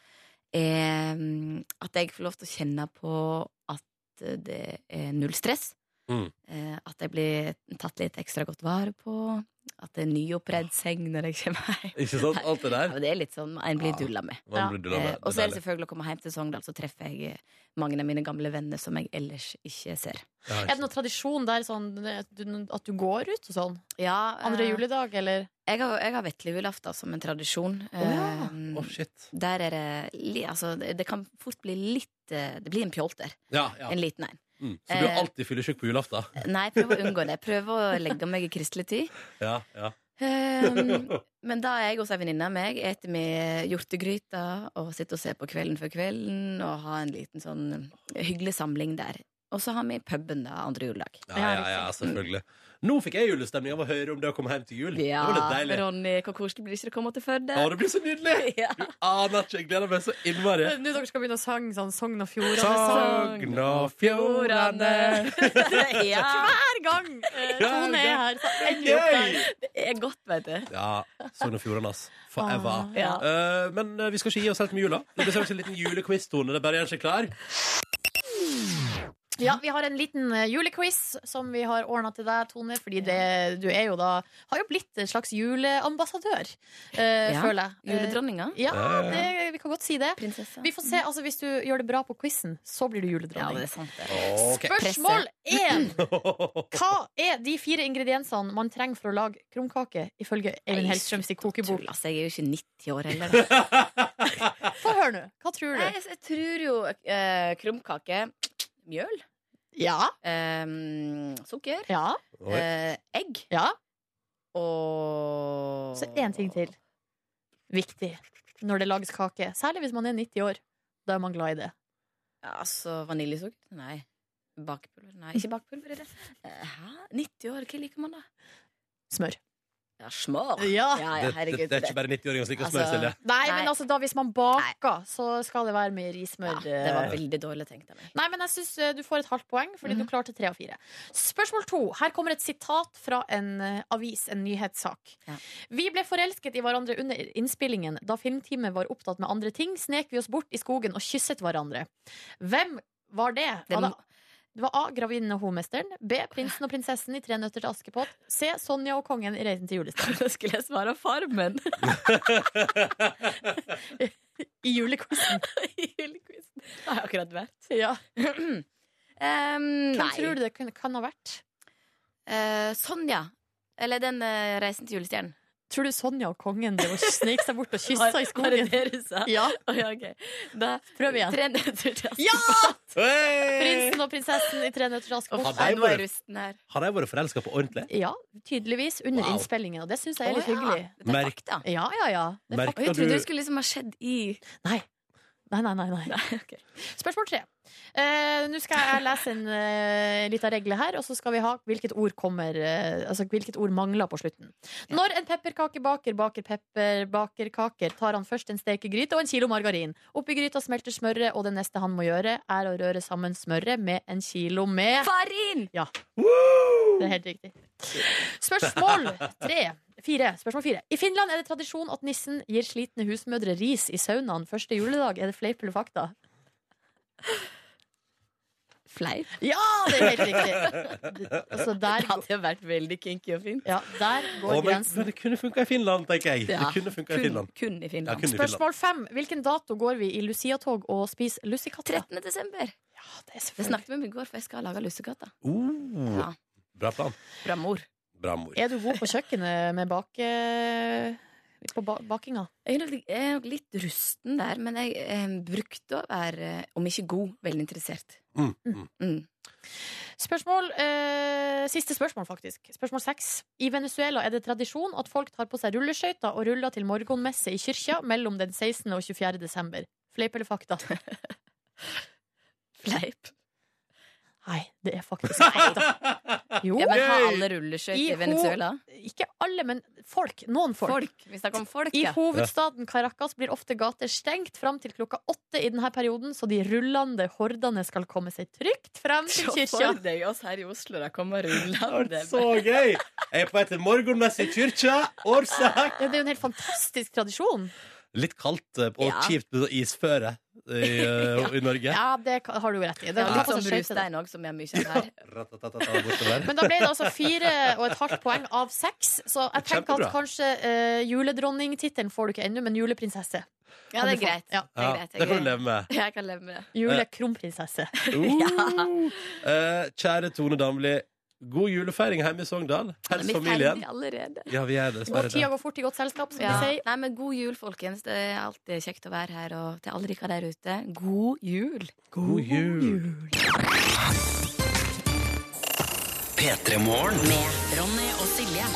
er mm, at jeg får lov til å kjenne på at eh, det er null stress. Mm. Eh, At jeg blir tatt litt ekstra godt vare på. At det er nyoppredd seng når jeg kommer hjem. Ikke sant? Alt det Ja, der. men det er litt sånn en blir Ja. dulla med. Man blir dullet med. Eh, Og så er det deilig. selvfølgelig å komme hjem til Sogndal, så treffer jeg eh, mange av mine gamle venner som jeg ellers ikke ser. Ja, Er det noen tradisjon der sånn, eh, du- at du går ut og sånn? Ja, Andre eh, juledag, eller? Jeg har, jeg har vetlejulaften som en tradisjon. ja. Eh, Å, shit. Der er det li- Altså, det det kan fort bli litt eh, Det blir en pjolter. Ja, ja. En liten en. Mm. Så du er Eh, alltid fyllesyk på julaften? Nei, jeg prøver å unngå det. Jeg prøver å legge meg i kristelig tid. Ja, ja. Um, men da er jeg hos ei venninne av meg, eter med hjortegryta og sitter og ser på Kvelden før kvelden og har en liten sånn hyggelig samling der. Og så har vi puben da andre juledag. Ja, ja, ja, selvfølgelig. Nå fikk jeg julestemning av å høre om det å komme hjem til jul. det var litt deilig. Ronny, hvor koselig blir det ikke å komme til Førde? Å, det blir så nydelig! Ja. Du aner ikke. Jeg gleder meg så innmari. Nå dere skal begynne å sange sånn Sogn og Fjordane-sang. Sogn og Fjordane. ja. Hver gang eh, Tone er her, så ender vi opp der. Gøy! Det er godt, vet du. Ja. Sogn og Fjordane, ass. Forever. Ah, Ja. Eh, men eh, vi skal ikke gi oss helt med jula. Det blir straks en liten julequiz-tone. Det er bare å gjøre seg klar. Ja, Vi har en liten eh, julequiz som vi har ordna til deg, Tone. Fordi det, du er jo da har jo blitt en slags juleambassadør, eh, Ja, føler jeg. Eh, juledronninga. Ja, Ja, ja, ja. det, vi kan godt si det. Prinsessa. Vi får se, altså Hvis du gjør det bra på quizen, så blir du Ja, juledronning. det er sant, det. Eh, Ok. Spørsmål én! Hva er de fire ingrediensene man trenger for å lage krumkake, ifølge Eivind Hellstrøms kokebok? Tull, altså, jeg er jo ikke 90 år heller. da. Få høre nå. Hva tror Nei, du? jeg, jeg tror jo eh, krumkake, mjøl, Ja. eh, sukker, Ja. Oi. eh, egg ja. og Så én ting til. Viktig når det lages kake. Særlig hvis man er 90 år. Da er man glad i det. Ja, Altså vaniljesukker? Nei. Bakpulver? Nei, ikke bakpulver. Er det. Eh, Hæ? 90 år, hva liker man da? Smør. Ja, smør. Ja. ja, Det, det, herregud. det er ikke bare 90-åringer som liker å smøre, Altså, Silje. Nei, Nei. men altså da hvis man baker, så skal det være med rismør. ja, det var veldig dårlig tenkt av meg. Nei, men jeg synes eh, du får et halvt poeng, fordi Mhm. du klarte tre av fire. Spørsmål to. Her kommer et sitat fra en eh, avis, en nyhetssak. Ja. Vi ble forelsket i hverandre under innspillingen. Da filmteamet var opptatt med andre ting, snek vi oss bort i skogen og kysset hverandre. Hvem var det? Det Var må- det det var A. Gravinnen og hovmesteren. B. Prinsen og prinsessen i Tre nøtter til Askepott. C. Sonja og kongen i Reisen til julestjernen. Da skulle jeg svare Farmen. I julequizen. I julequizen. Det har jeg akkurat vært. Ja. Em, Hvem Ehm, nei. tror du det kunne, kan ha vært? Eh, Sonja. Eller den eh, Reisen til julestjernen. Tror du Sonja og kongen drev og snek seg bort og kyssa i Var det skogen? det du sa? Ja, Å, ja, ok. Da, prøv igjen. Tre nøtter til Askepott. Ja! Hey! Prinsen og prinsessen i Tre nøtter til Uff, Askepott. Hadde nei, jeg Nå er vært- jeg rusten her. Har de vært forelska på ordentlig? Ja, tydeligvis under Wow. innspillingen, og det syns jeg er litt Å, ja. hyggelig. Dette er Merk- fakta. Ja, ja, ja. Det er Merk- fakt- Og jeg Kan du- trodde det skulle liksom ha skjedd i Nei. Nei, nei, nei. nei. ok. Spørsmål tre. Eh, Nå skal jeg lese en uh, lita regle her, og så skal vi ha hvilket ord kommer eh, Altså hvilket ord mangler på slutten. Når en pepperkakebaker baker pepperbakerkaker, tar han først en stekegryte og en kilo margarin. Oppi gryta smelter smøret, og det neste han må gjøre, er å røre sammen smøret med en kilo med Farin! Det er helt riktig. Spørsmål tre. Fire. Spørsmål fire. I Finland er det tradisjon at nissen gir slitne husmødre ris i saunaen første juledag. Er det fleip eller fakta? Fleip. Ja, det er helt riktig! Altså, der, Det hadde jo vært veldig kinky og fint. ja, der går Å, men, grensen. men det kunne funka i Finland, tenker jeg. Ja, Det kunne funka kun, i Finland. kun i Ja, Finland. kun i Finland. Spørsmål fem. Hvilken dato går vi i Lucia-tog og spiser lussekatter? 13. desember. Ja, det er Det selvfølgelig. snakket vi om i går, for jeg skal lage lussekatter. Oh, Ja. bra plan. Bra mor. Bra mor. Er du god på kjøkkenet med bake... På ba bakinga? Jeg er nok- jeg er nok litt rusten der, men jeg eh, brukte å være, eh, om ikke god, veldig interessert. Mm, mm. Mm. Spørsmål, eh, Siste spørsmål, faktisk. Spørsmål seks. I Venezuela er det tradisjon at folk tar på seg rulleskøyter og ruller til morgenmesse i kyrkja mellom den 16. og 24. desember. Fleip eller fakta? Fleip. Nei, det er faktisk fakta. Jo, Ja, men har alle rulleskøyter I i Venezuela? ikke alle, men folk. Noen folk. Folk. Vi snakker om folk, I ja. hovedstaden Caracas blir ofte gater stengt fram til klokka åtte i denne perioden, så de rullende hordene skal komme seg trygt frem til Se kirka. for deg oss her i Oslo, da kommer Det rullende. er Så gøy! Jeg er på vei til morgenmesse i kirka. Årsak! Ja, det er jo en helt fantastisk tradisjon. Litt kaldt eh, og Ja. kjipt med isføre i, eh, i Norge. Ja, det ka- har du jo rett i. Det Det er er litt litt som sånn skjevt i det. Brustein òg, som er mye kjent her. Ratatatata bortover. Men da ble det altså fire og et halvt poeng av seks, så jeg tenker Kjempebra. at kanskje eh, juledronningtittelen får du ikke ennå, men juleprinsesse. Ja, det er greit. Ja. Det Ja, er greit. det kan du leve med. Jeg kan leve med det. Julekronprinsesse. Uh. Eh, kjære Tone Damli, god julefeiring hjemme i Sogndal. Hils Vi er familien. ferdig allerede. Ja, vi er Og dessverre tida det. går fort i godt selskap, som Ja. de sier. Nei, men god jul, folkens. Det er alltid kjekt å være her. Og til alle dere der ute, god jul. God jul. Med Ronny og Silje.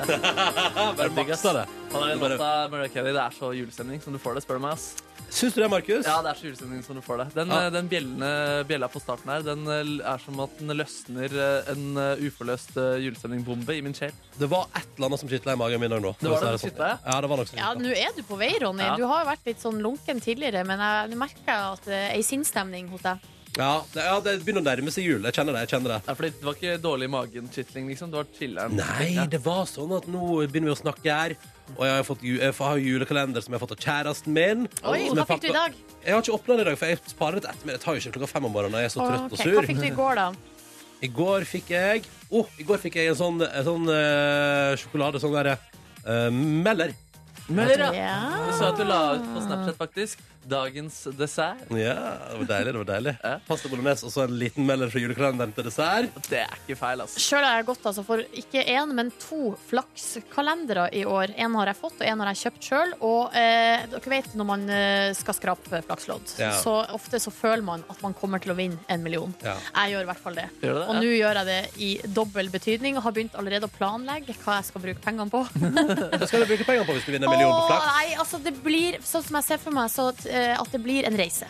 Bare maksa det. Og den låta Mariah Carey, det er så julestemning som du får det, spør du meg. ass. Syns du det, Markus? Ja, det er så julestemning som du får det. Den, Ja. eh, den bjellene, bjella på starten her, den eh, er som at den løsner eh, en eh, uforløst eh, julestemningbombe i min sjel. Det var et eller annet som kitla i magen min òg nå. Det var det for å si som sånn. kitlet? Ja, det var noe som Ja, kitlet. nå er du på vei, Ronny. Ja. Du har jo vært litt sånn lunken tidligere, men jeg nå merker jeg at det er ei sinnsstemning hos deg. Ja, det, ja, det begynner å nærme seg jul. Jeg kjenner det. jeg kjenner det Ja, fordi det var ikke dårlig magen-chitling, liksom. Det var chiller'n. Nei, Ja. det var sånn at nå begynner vi å snakke her. Og jeg har, fått, ju- jeg har jo julekalender som jeg har fått av kjæresten min. Oi, Som hva jeg fikk du i pakka- dag? Jeg har ikke åpna den i dag, for jeg sparer det til ettermiddag. Jeg tar jo ikke klokka fem om morgenen. Jeg er så trøtt Ok, og sur. Hva fikk du i går, da? I går fikk jeg Å, i går fikk jeg en sånn, en sånn eh, sjokolade Sånn der eh, Meller Mør, ja. Ja. Jeg så at du la ut på Snapchat, faktisk. Dagens dessert. Ja, det var deilig, det var deilig Pasta bolognese og så en liten meller fra julekalenderen til dessert Det er ikke feil, altså. Sjøl har jeg gått altså, for ikke én, men to flakskalendere i år. Én har jeg fått, og én har jeg kjøpt sjøl. Og eh, dere vet når man eh, skal skrape flakslodd, Ja. så ofte så føler man at man kommer til å vinne en million. Ja. Jeg gjør i hvert fall det. Gjør du det? Og nå gjør jeg det i dobbel betydning og har begynt allerede å planlegge hva jeg skal bruke pengene på. Hva skal du bruke pengene på hvis du vinner en million på Åh, flaks? nei, altså det blir, sånn som jeg ser for meg, så at, eh, at det blir en reise.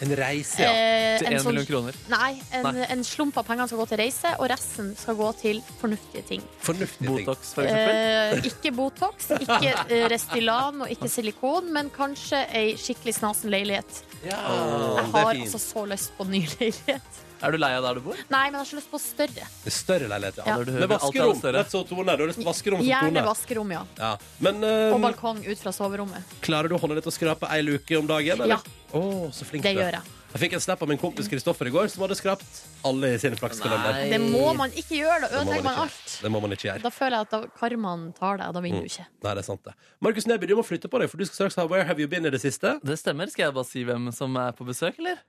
En reise, ja Eh, Til en én sånn- million kroner. Nei, en, Nei. en slump av pengene skal gå til reise, og resten skal gå til fornuftige ting. Fornuftige ting Botox, for eksempel. Eh, ikke Botox, ikke eh, Restylan og ikke silikon, men kanskje ei skikkelig snasen leilighet. ja, Jeg Det har er altså fint så lyst på ny leilighet. Er du lei av der du bor? Nei, men jeg har så lyst på større. Det er Større leilighet, ja, Ja. Med vaskerom, rett så Tone Du har lyst på vaskerom som Gjerne Tone vaskerom, ja. ja. Men eh, Og balkong ut fra soverommet. klarer du å holde deg til å skrape ei luke om dagen? Ja. Eller? Å, så flink Det du er. gjør jeg. Jeg fikk en snap av min kompis Kristoffer i går Som hadde skrapt alle i sin flakskalender Det må man ikke gjøre, da Det må man ødelegger man ikke. alt. Det må man ikke gjøre Da føler jeg at da, karmaen tar deg, og da vinner du ikke. Nei, det er sant det. Markus Neby, du må flytte på deg, for du skal straks ha Where Have You Been i det siste. Det stemmer. Skal jeg bare si hvem som er på besøk, eller?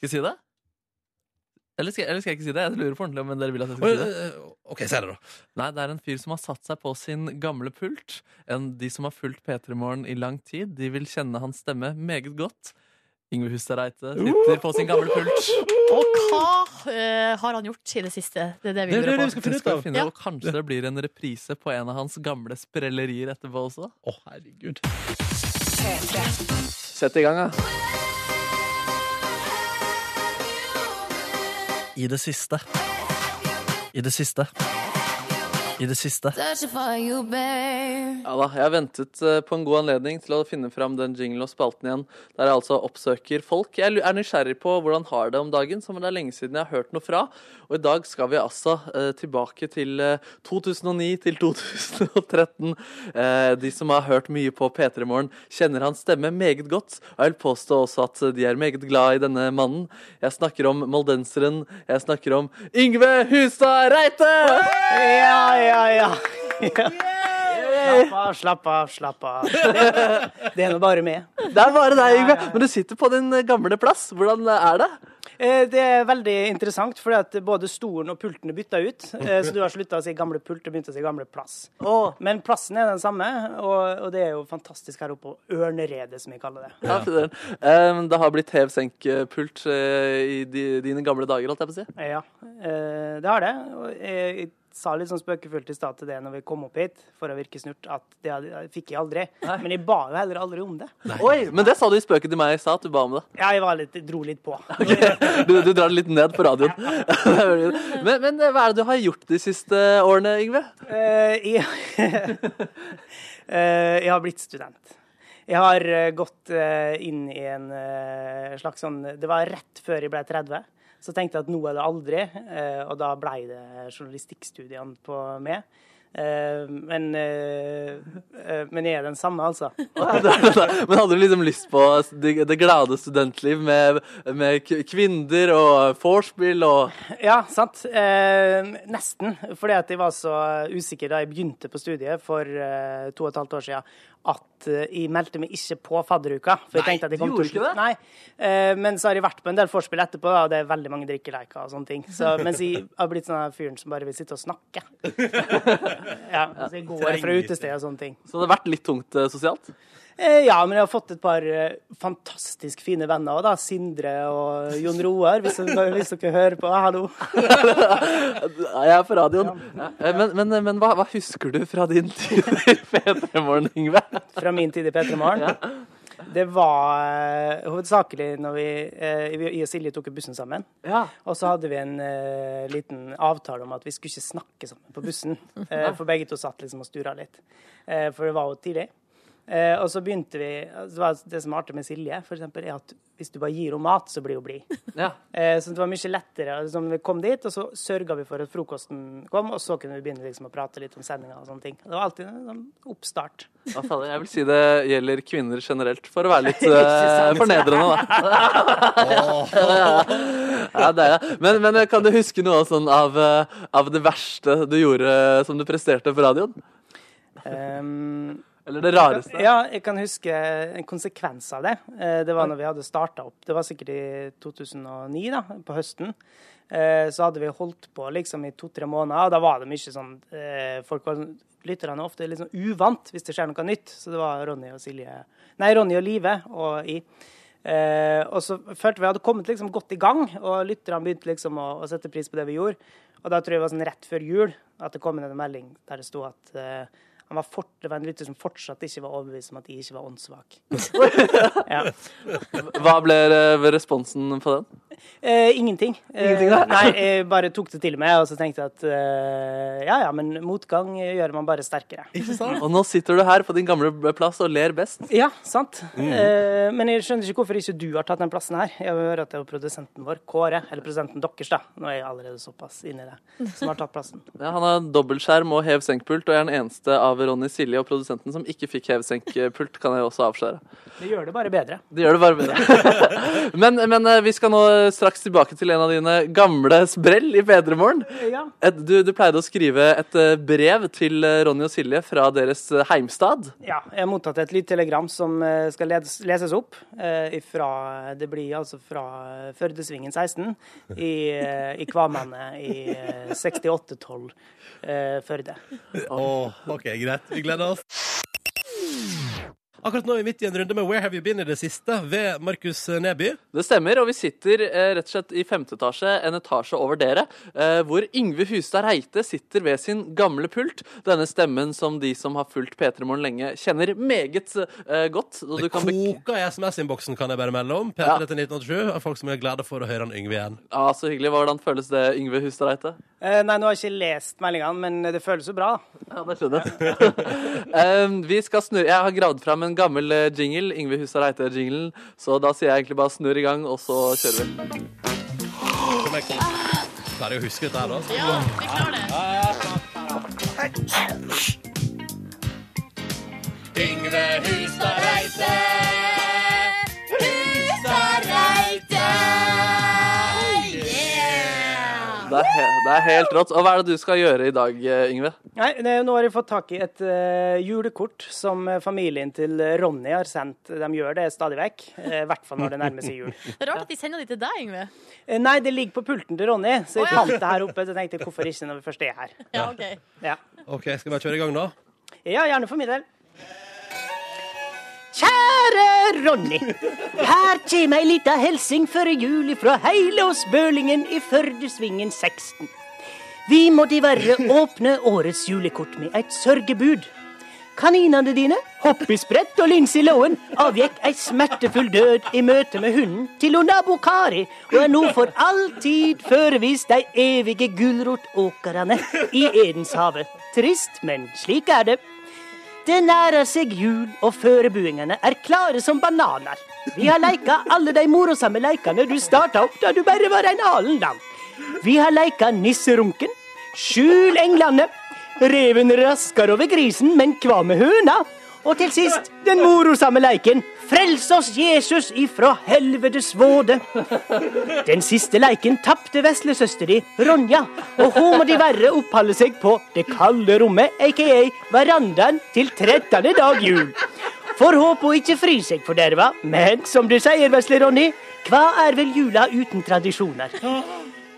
Skal jeg si det? Eller skal, eller skal jeg ikke si det? Jeg lurer på ordentlig om dere vil at jeg Oi, skal si det. eh, OK, si det, da. Nei, det er en fyr som har satt seg på sin gamle pult. En, de som har fulgt P3 Morgen i lang tid, de vil kjenne hans stemme meget godt. Yngve Hustadreite sitter på sin gamle pult. Og hva eh, har han gjort i det siste? Det er det vi Det er det lurer vi på. skal finne Det ut skal av. vi finne, og kanskje det blir en reprise på en av hans gamle sprellerier etterpå også. Å, herregud. Sett i gang, da. I det siste. I det siste. I det siste. Ja da, Jeg har ventet eh, på en god anledning til å finne fram den jinglen og spalten igjen, der jeg altså oppsøker folk. Jeg lu- er nysgjerrig på hvordan har det om dagen, som det er lenge siden jeg har hørt noe fra. Og i dag skal vi altså eh, tilbake til eh, 2009 til 2013. Eh, de som har hørt mye på P3 Morgen, kjenner hans stemme meget godt. Og jeg vil påstå også at eh, de er meget glad i denne mannen. Jeg snakker om moldenseren. Jeg snakker om Yngve Hustad Reite! Ja, ja, ja. Slapp av, slapp av, slapp av. Det er nå bare meg. Det er bare deg, Yngve. Men du sitter på din gamle plass. Hvordan er det? Eh, Det er veldig interessant, fordi at både stolen og pulten er bytta ut. eh, Så du har slutta å si gamle pult og begynt å si gamle plass. Men plassen er den samme, og, og det er jo fantastisk her oppe. og Ørneredet, som vi kaller det. Ja, fy søren. Ehm, det har blitt hev-senk-pult eh, i di- dine gamle dager, holdt jeg på å si. Ja, eh, det har det. Og jeg, jeg sa litt sånn spøkefullt i stad til det når vi kom opp hit, for å virke snurt, at det hadde- fikk jeg aldri. Men jeg ba jo heller aldri om det. Oi, Men det sa du i spøken til meg i stad, at du ba om det. Ja, jeg var litt, dro litt på. Du, du drar det litt ned på radioen. men, men eh, hva er det du har gjort de siste årene, Yngve? Eh, jeg, Eh, jeg har blitt student. Jeg har eh, gått eh, inn i en eh, slags sånn Det var rett før jeg ble 30. Så tenkte jeg at nå er det aldri, eh, og da blei det journalistikkstudiene på meg. Eh, men, eh, eh, men jeg er den samme, altså. men hadde du liksom lyst på det, det glade studentliv med, med k- kvinner og vorspiel og Ja, sant. Eh, nesten. Fordi at jeg var så usikker da jeg begynte på studiet for eh, to og et halvt år siden, at eh, jeg meldte meg ikke på fadderuka. For jeg Nei, tenkte at jeg du kom gjorde til ikke å det? Nei. Eh, men så har jeg vært på en del vorspiel etterpå, da, og det er veldig mange drikkeleker og sånne ting. Så, mens jeg har blitt sånn her fyren som bare vil sitte og snakke. ja, så jeg går fra utested og sånne ting. Så det har vært litt tungt eh, sosialt? Eh, Ja, men jeg har fått et par eh, fantastisk fine venner òg, da. Sindre og Jon Roar, hvis dere, hvis dere hører på. Hallo. Ja, Jeg er på radioen. Eh, Men, men, men hva, hva husker du fra din tid i P3 Morgen, Yngve? fra min tid i P3 Morgen. Det var eh, hovedsakelig når vi, eh, vi jeg og Silje tok bussen sammen. Ja. Og så hadde vi en eh, liten avtale om at vi skulle ikke snakke sammen på bussen. Eh, for begge to satt liksom og stura litt. Eh, for det var jo tidlig. Eh, og så begynte vi altså, Det var det som var artig med Silje, for eksempel, er at hvis du bare gir henne mat, så blir hun blid. Eh, så det var mye lettere. Altså, vi kom dit, og så sørga vi for at frokosten kom, og så kunne vi begynne liksom, å prate litt om sendinga og sånne ting. Det var alltid en sånn oppstart. Hva fader, jeg vil si det gjelder kvinner generelt, for å være litt eh, fornedrende, da. ja, det er det. Men, men kan du huske noe sånn av, eh, av det verste du gjorde eh, som du presterte på radioen? Ehm, Eller det rareste? Ja, jeg kan huske en konsekvens av det. Eh, Det var når vi hadde starta opp. Det var sikkert i 2009, da, på høsten. Eh, Så hadde vi holdt på liksom i to-tre måneder, og da var det mye sånn eh, folk var, sånn- Lytterne er ofte litt sånn uvant hvis det skjer noe nytt. Så det var Ronny og Silje Nei, Ronny og Live og i. Eh, og så følte vi at vi hadde kommet liksom godt i gang, og lytterne begynte liksom å, å sette pris på det vi gjorde. Og da tror jeg det var sånn rett før jul at det kom inn en melding der det sto at eh, han var fort, det var en lytter som fortsatt ikke var overbevist om at jeg ikke var åndssvak. ja. Hva ble eh, responsen på den? Eh, ingenting. Eh, Ingenting, da? nei, jeg bare tok det til meg, og så tenkte jeg at eh, ja ja, men motgang gjør man bare sterkere. Og nå sitter du her på din gamle plass og ler best. Ja, sant. Eh, men jeg skjønner ikke hvorfor ikke du har tatt den plassen her. Jeg hører at det er produsenten vår, Kåre, eller produsenten deres, da. Nå er jeg allerede såpass inni det, som har tatt plassen. Ja, han har dobbeltskjerm og hev-senk-pult, og er den eneste av Ronny Silje og produsenten som ikke fikk hev-senk-pult, kan jeg også avskjære. Det gjør det bare bedre. Det gjør det bare bedre. men, men eh, vi skal nå straks tilbake til en av dine gamle sprell i Bedremorgen. Ja. Et- Du, du pleide å skrive et eh, brev til eh, Ronny og Silje fra deres eh, heimstad. Ja, jeg har mottatt et lite telegram som eh, skal ledes, leses opp. eh, ifra, det blir altså fra eh, Førdesvingen 16 i, eh, i Kvamane i eh, 6812 eh, Førde. Åh, ok, greit. Vi gleder oss. Akkurat nå er vi midt i en runde med Where Have You Been i det siste, ved Markus Neby. Det stemmer, og vi sitter eh, rett og slett i femte etasje, en etasje over dere, eh, hvor Yngve Hustad Reite sitter ved sin gamle pult. Denne stemmen som de som har fulgt P3 Morgen lenge, kjenner meget eh, godt. og du Det kan bek- koker i SMS-innboksen, kan jeg bare melde om. P3 til 1987. av Folk som er glade for å høre han Yngve igjen. Ja, Så hyggelig. Hvordan føles det, Yngve Hustad Reite? Eh, nei, nå har jeg ikke lest meldingene, men det føles jo bra. da. Ja, det skjønner jeg. Em, vi skal snurre. Jeg har gravd fram en gammel eh, jingle, Yngve Hustad Reite-jinglen, så da sier jeg egentlig bare snurr i gang, og så kjører vi. Som jeg klarer å huske dette her, da. Ja, vi klarer det. Yngve Hustad Reite. Det er, he det er helt rått. Og hva er det du skal gjøre i dag, eh, Yngve? Nei, det, Nå har jeg fått tak i et eh, julekort som eh, familien til Ronny har sendt. De gjør det stadig vekk, eh, i hvert fall når det nærmer seg jul. Det er rart at de sender de til deg, Yngve. Eh, nei, det ligger på pulten til Ronny, så jeg fant det her oppe. Så tenkte jeg hvorfor ikke når vi først er her. Ja, ok. Ja. OK, skal vi bare kjøre i gang, da? Ja, gjerne for min del. Kjære Ronny. Her kommer ei lita hilsen før jul fra heile oss Bølingen i Førdesvingen 16. Vi må diverre åpne årets julekort med et sørgebud. Kaninene dine, Hoppisprett og Lincy Lowen, avgikk ei smertefull død i møte med hunden til hun nabo Kari, og er nå for all tid førevist de evige gulrotåkrene i Edenshavet. Trist, men slik er det. Det nærer seg jul, og førebuingene er klare som bananer. Vi har leika alle de morosamme leikene du starta opp da du bare var en alen lang. Vi har leika nisserunken, skjul englene, reven rasker over grisen, men hva med høna? Og til sist den morosamme leiken, frels oss Jesus ifra helvetes våde. Den siste leiken tapte veslesøster di, Ronja, og hun må diverre oppholde seg på det kalde rommet, aka verandaen, til 13. dag jul. Får håpe hun ikke fryr seg forderva, men som du sier, vesle Ronny, hva er vel jula uten tradisjoner?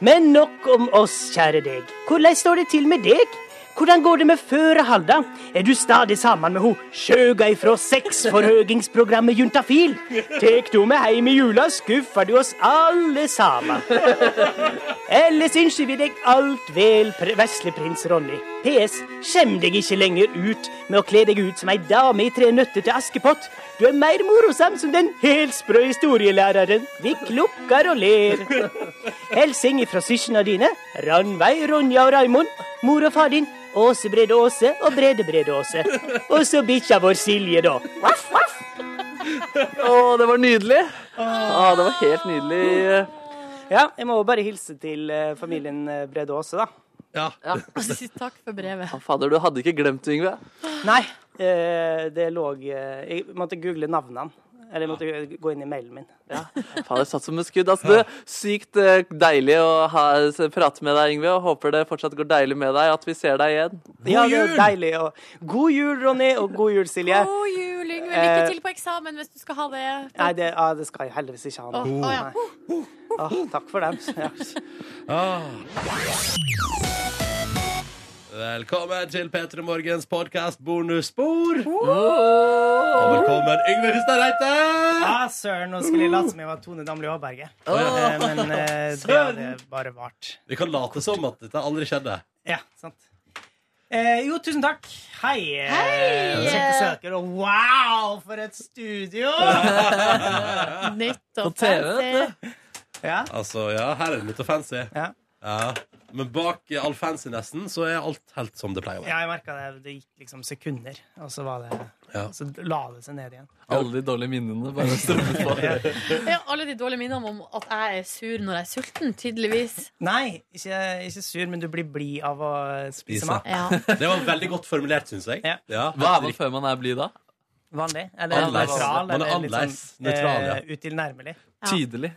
Men nok om oss, kjære deg. Hvordan står det til med deg? Hvordan går det med Førehalda? Er du stadig sammen med ho skjøga ifra sexforhøgingsprogrammet Juntafil? Tek du med heim i jula, skuffer du oss alle sammen. Ellers ønsker vi deg alt vel, pre- vesle prins Ronny. PS. Skjem deg ikke lenger ut med å kle deg ut som ei dame i Tre nøtter til Askepott. Du er mer morosam som den helsprø historielæreren. Vi klukker og ler. Hilsing ifra søsknene dine, Ranveig, Ronja og Raimond, mor og far din, Åse Brede Åse og Brede Brede Åse. Og så bikkja vår Silje, da. Vaff, vaff. Å, det var nydelig! Å, det var helt nydelig. Ja, jeg må bare hilse til eh, familien eh, Brede Åse, da. Ja. Takk for brevet. Fader, du hadde ikke glemt det, Yngve. Nei, eh, det lå eh, Jeg måtte google navnene. Eller jeg måtte gå inn i mailen min. Fader, satt som et skudd. Altså, du, sykt eh, deilig å ha, s- prate med deg, Yngve. Og håper det fortsatt går deilig med deg, at vi ser deg igjen. Ja, det er deilig. å- God jul, Ronny, og god jul, Silje. God jul, Yngve. Lykke Eh. til på eksamen hvis du skal ha det. Nei, det, ja, det skal jeg heldigvis ikke ha. nå. Å, å, ja. Nei. Å, takk for den. Ja. Ah. Velkommen til P3 Morgens podkast bonusspor. Og velkommen Yngve Hustad Reite. Ja, søren, nå skulle jeg late som jeg var Tone Damli Aaberge. Eh, Men eh, det hadde bare vart. Vi kan late som at dette aldri skjedde. Ja, sant. Eh, jo, tusen takk. Hei. eh, Kjekt å se dere. Og wow, for et studio! Nytt og fancy. Ja. Altså, ja, her er det litt fancy. Ja. Men bak eh, all fancynessen så er alt helt som det pleier å være. Ja, jeg merka det. Det gikk liksom sekunder, og så, var det, Ja. så la det seg ned igjen. Alle de dårlige minnene bare strømmet på. Ja, alle de dårlige minnene om at jeg er sur når jeg er sulten, tydeligvis. Nei, ikke, ikke sur, men du blir blid av å Spise. spise mat. Det var veldig godt formulert, syns jeg. Ja. Hva er man før man er blid, da? Vanlig. Eller Annerledes. nøytral. Man er eller litt sånn, annerledes. Nøytral, ja. eh, Utilnærmelig. Tydelig.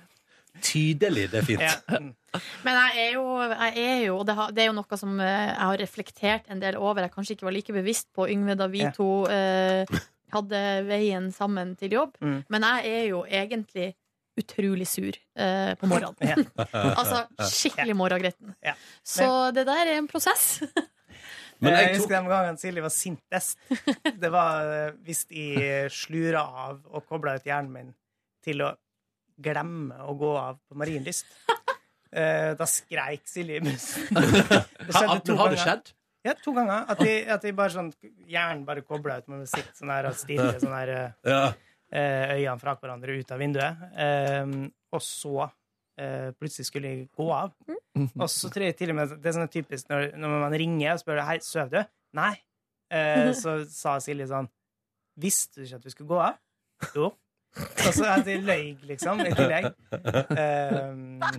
Tydelig, det er fint. Ja. mm. Men jeg er jo, jeg er jo og det, har, det er jo noe som eh, jeg har reflektert en del over. Jeg kanskje ikke var like bevisst på Yngve da vi Ja. to eh, hadde veien sammen til jobb. Mm. Men jeg er jo egentlig utrolig sur eh, på morgenen. Ja. altså skikkelig morgengretten. Ja. Så det der er en prosess. Men eh, jeg, jeg tok- husker den gangen Silje var sintest. Det var eh, hvis jeg slura av og kobla ut hjernen min til å glemme å gå av på Marienlyst. Eh, da skreik Silje i bussen. Det Ha- men har det skjedd? Ja, to ganger. At jeg, at jeg bare sånn Hjernen bare kobla ut med musikk sånn her og stirrer sånn her eh, Ja. eh, øynene fra hverandre ut av vinduet. Eh, og så eh, plutselig skulle jeg gå av. Og så tror jeg til og med Det er sånn typisk når, når man ringer og spør Hei, sover du? Nei. Eh, så sa Silje sånn Visste du ikke at du skulle gå av? Jo. Og så at jeg løy, liksom, i tillegg. Eh,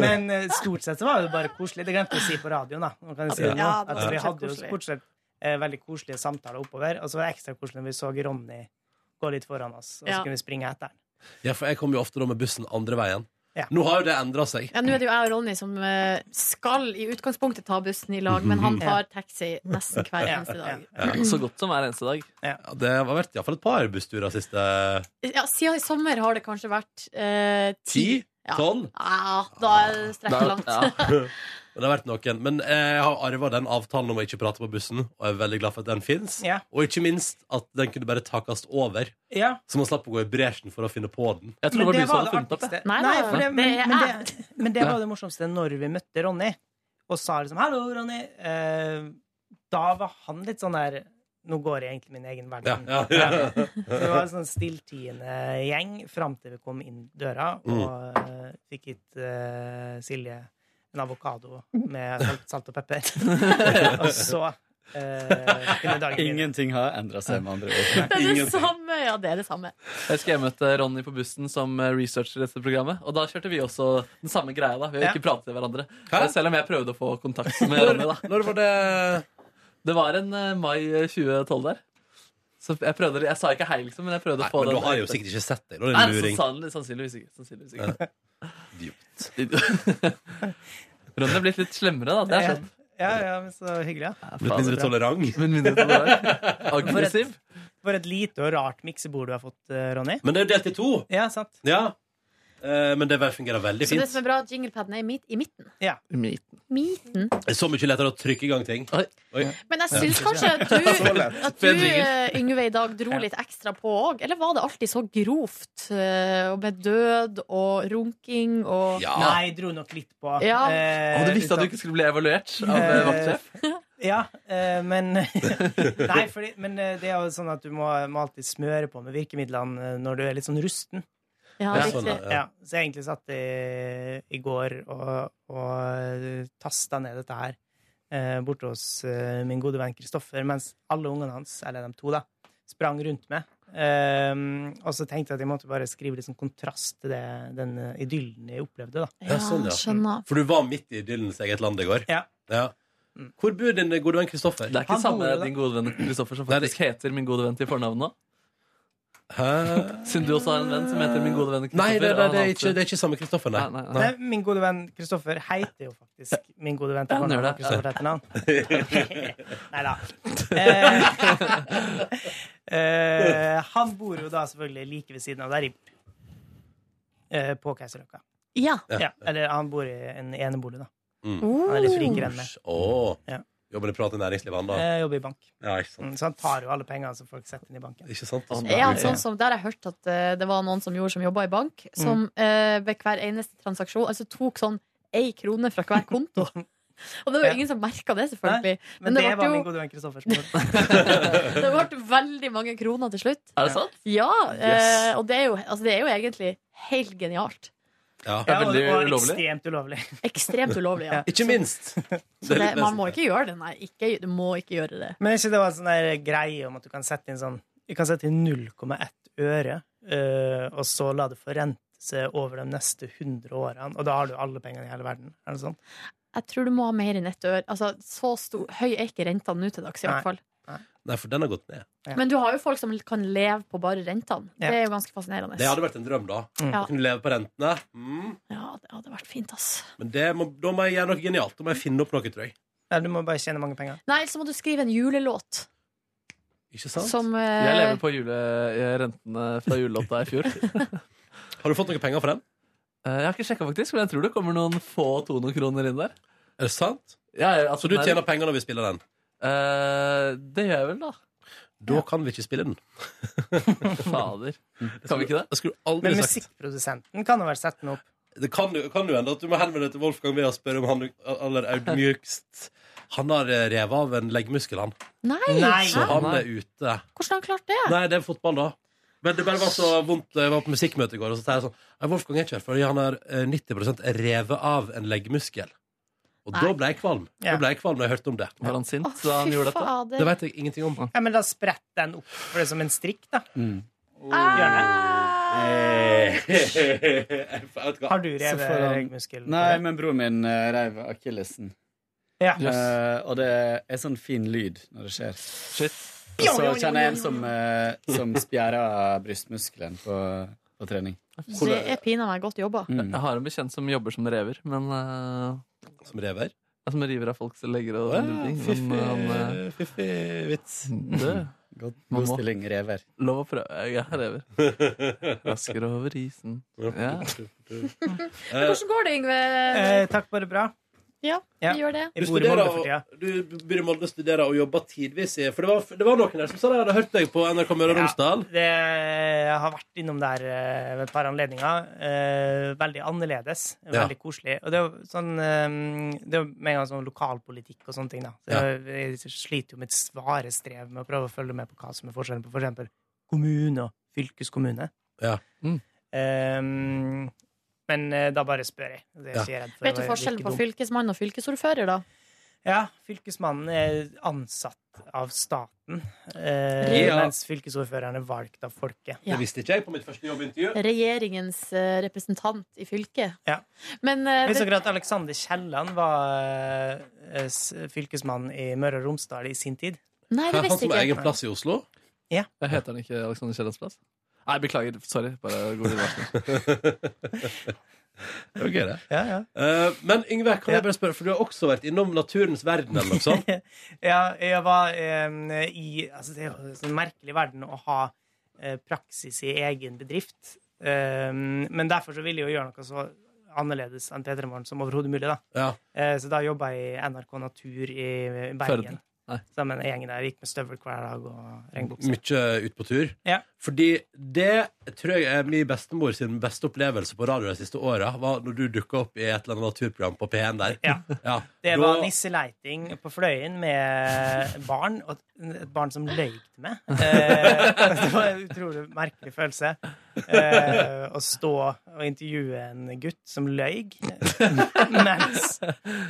men eh, stort sett så var det bare koselig. Det glemte jeg å si på radioen. da Nå kan jeg si det nå, Ja, det at var Vi stort sett hadde jo koselig. stort sett eh, veldig koselige samtaler oppover, og så var det ekstra koselig når vi så Ronny gå litt foran oss, og så Ja. kunne vi springe etter han. ja, for jeg kommer jo ofte da med bussen andre veien. Ja. Nå har jo det endra seg. Ja, Nå er det jo jeg og Ronny som eh, skal i utgangspunktet ta bussen i lag, men han tar taxi nesten hver Ja, eneste dag. Så godt som hver eneste dag. Ja, Det har vært iallfall et par bussturer siste Ja, siden i sommer har det kanskje vært eh, ti, Sånn? Ah. ti. Ja. Ja, tolv. da strekker jeg langt. Ja. Men det har vært noen Men jeg har arva den avtalen om å ikke prate på bussen, og jeg er veldig glad for at den fins. Ja. Og ikke minst at den kunne bare takast over, Ja, så man slapp å gå i bresjen for å finne på den. Jeg tror det men var det du som var hadde det funnet opp det. artigste. Nei, Nei, nei, for det, det men, er men, det, men det var jo det morsomste når vi møtte Ronny og sa liksom 'hallo, Ronny'. Eh, da var han litt sånn der 'nå går jeg egentlig min egen Ja, verden'. ja, ja. Så det var en sånn stilltiende gjeng fram til vi kom inn døra Mm. og eh, fikk gitt eh, Silje en avokado med salt, salt og pepper. og så eh, kunne dagen begynne. Ingenting har endra seg, med andre ord. Det er det samme. Ja, det er det samme. Jeg husker jeg møtte eh, Ronny på bussen som eh, researcher i dette programmet. Og da kjørte vi også den samme greia. da Vi har Ja. ikke pratet til hverandre. Hæ? Selv om jeg prøvde å få kontakt med Ronny. da Når var det Det var en eh, mai 2012 der. Så jeg prøvde Jeg sa ikke hei, liksom, men jeg prøvde Nei, å få men den. da har jeg jo sikkert ikke sett deg. Da er det Nei, en så, luring. sann- sannsynligvis ikke. Sannsynligvis ikke. Idiot. Ronny er blitt litt slemmere, da. Det er skjønt. Ja, ja, men så hyggelig, ja. Blitt mindre tolerant. Men mindre til det der. Aggressiv. For et lite og rart miksebord du har fått, eh, Ronny. Men det er jo delt i to. Ja, sant. Ja. Eh, Men det bare fungerer veldig Så det som er fint. bra, at jinglepaden er i, midt, i midten. Midten. Det er så mye lettere å trykke i gang ting. Oi. Oi. Men jeg syns kanskje at Så du, lett. at du eh, Bedringer. Yngve, i dag dro litt ekstra på òg. Eller var det alltid så grovt? eh, Og med død og runking og Ja. Nei, jeg dro nok litt på. Ja. eh, Og du visste at du ikke skulle bli evaluert av eh, vaktsjef? Ja, eh, men Nei, fordi, men eh, det er jo sånn at du må, må alltid smøre på med virkemidlene eh, når du er litt sånn rusten. Ja, Ja, sånn, riktig. Ja. ja. så jeg egentlig satt i, i går og, og tasta eh, ned dette her eh, borte hos eh, min gode venn Kristoffer, mens alle ungene hans, eller de to, da, sprang rundt meg. Ehm, og så tenkte jeg at jeg måtte bare skrive litt sånn kontrast til det, den eh, idyllen jeg opplevde. da. Ja, sånn, ja. For du var midt i idyllens eget land i går. Ja. Mm. Hvor bor din gode venn Kristoffer? Det er ikke samme din gode venn Kristoffer som faktisk heter min gode venn til fornavn nå? Siden du også har en venn som heter min gode venn Kristoffer. Nei, det, det, og det, han er har ikke, alltid- det er ikke samme Kristoffer, nei. Nei, Nei, min gode venn Kristoffer heter jo faktisk min gode venn til Ja, han gjør fornavn. det. Kristoffer heter navn. Nei da. Eh, han bor jo da selvfølgelig like ved siden av der jeg bor. Eh, på Keiserløkka. Ja. Ja, eller han bor i en enebolig, da. Mm. Han er litt Oh. rikere enn meg. Åh. Ja. Jobber i privat i næringslivet, han da? Jeg Eh, jobber i bank. Ja, ikke Mm, sant. Så han tar jo alle pengene som folk setter inn i banken. Ikke sant? altså. Ja, sånn som, der har jeg hørt at eh, det var noen som gjorde som jobba i bank, som eh, ved hver eneste transaksjon altså tok sånn ei krone fra hver konto. Og det var jo ingen som merka det, selvfølgelig. Men det, var ble min gode venn Kristoffer. som gjorde det. det ble veldig mange kroner til slutt. Er det sant? Ja. eh, Yes. og det er, jo, altså, det er jo egentlig helt genialt. Ja. Ja, og det var Veldig ulovlig. ekstremt ulovlig. Ekstremt ulovlig, ja. Ikke minst. Så det, man må Men ikke gjøre det, nei. Ikke, du må ikke gjøre det. er ikke det var en sånn der greie om at du kan sette inn sånn Du kan sette inn 0,1 øre, eh, og så la det forrente seg over de neste 100 årene, og da har du alle pengene i hele verden. Er det sånn? Jeg tror du må ha mer enn ett øre. Altså, så stor, høy er ikke rentene nå til dags, i Nei. hvert fall. Nei, for den har gått ned. Men du har jo folk som kan leve på bare rentene. Ja. Det er jo ganske fascinerende. Det hadde vært en drøm, da. Ja. Å kunne leve på rentene. Mm. Ja, det hadde vært fint, ass. Men det må, da må jeg gjøre noe genialt. Da må jeg finne opp noe, tror jeg. Eller du må bare tjene mange penger. Nei, så må du skrive en julelåt. Ikke sant? Som, eh, Jeg lever på jule, eh, rentene fra julelåta i fjor. har du fått noen penger for den? Eh, Jeg har ikke sjekka, faktisk, men jeg tror det kommer noen få tono-kroner inn der. Er det sant? Ja, ja, altså, Så du den er- tjener penger når vi spiller den? eh, det gjør jeg vel, da. Da kan vi ikke spille den. Fader. Kan vi ikke det? Jeg skulle aldri Men sagt musikkprodusenten kan jo være sette den opp. Det kan jo kan jo hende at du må henvende deg til Wolfgang ved å spørre om han aller audmjukst Han har eh, revet av en leggmuskel, han. Nei! Så han Hæ? er ute. Hvordan har han klart det? Nei, det er fotball, da. Men det bare var så vondt. Jeg var på musikkmøte i går, og så sa jeg sånn «Nei, Wolfgang er ikke her fordi han har eh, 90 revet av en leggmuskel. Og da ble jeg kvalm. Da ble jeg kvalm når jeg hørte om det. Var han sint da han gjorde dette? fader. Det vet jeg ingenting om. Ja, men da spretter den opp for det er som en strikk, da. Eh. Har du revet Så får han- ryggmuskel? Nei, men broren min eh, reiv akillesen. Ja. Eh, og det er sånn fin lyd når det skjer. Og Ja, så ja, ja, kjenner jeg en ja, ja, som, eh, som spjærer brystmuskelen på, på trening. Det er pinadø meg godt jobba. Mm. Jeg har en bekjent som jobber som rever, men Som rever? Ja, som river av folks legger og Ja, sånne ting. fiffig, eh, fiffig vits. Det. God, Man god må- stilling, rever. Lov å prøve. Jeg er rever. Raskere over isen. Ja. Men hvordan går det, Yngve? Eh, takk, bare bra. Ja, Ja. vi gjør det. Du studerer og, du bor i Molde og studerer og jobber tidvis i For det var, det var noen der som sa de hadde hørt deg på NRK Møre og Romsdal. Det, jeg har vært innom der eh, ved et par anledninger. Eh, veldig annerledes. Ja. Veldig koselig. Og det er jo sånn eh, Det er jo med en gang sånn lokalpolitikk og sånne ting, da. Så jeg, jeg sliter jo med et svare strev med å prøve å følge med på hva som er forskjellen på for eksempel kommune og fylkeskommune. Ja. Eh, men eh, da bare spør jeg. Det er jeg ikke redd for. å Vet du være forskjellen virke på dum. fylkesmann og fylkesordfører, da? Ja, fylkesmannen er ansatt av staten, eh, Ja. mens fylkesordføreren er valgt av folket. Ja. Det visste ikke jeg på mitt første jobbintervju. Regjeringens eh, representant i fylket. Ja. Men eh, Jeg så det, at Alexander Kielland var eh, s- fylkesmann i Møre og Romsdal i sin tid. Nei, det Han visste som har jeg egen ikke. plass i Oslo? Ja. Jeg heter han ikke Alexander Kiellands plass? Nei, beklager. Sorry. Bare god innvarsel. Det var gøy, det. Ja, ja. Eh, men Yngve, kan jeg bare spørre, for du har også vært innom naturens verden eller noe sånt? Ja, jeg var eh, i altså, Det er jo en sånn merkelig verden å ha eh, praksis i egen bedrift. Eh, men derfor så ville jeg jo gjøre noe så annerledes enn P3 Morgen som overhodet mulig. da. Ja. Eh, så da jobba jeg i NRK Natur i Bergen. Førden. Nei. Sammen med en gjeng der. Gikk med støvel hver dag og regnbukse. Mye ut på tur. Ja. Fordi det tror jeg er min bestemor sin beste opplevelse på radio de siste åra, var når du dukka opp i et eller annet naturprogram på P1 der. Ja. Ja. Det Da- var nisseleiting på Fløyen med barn, og et barn som løy til meg. Eh, det var en utrolig merkelig følelse. eh, å stå og intervjue en gutt som løy, mens,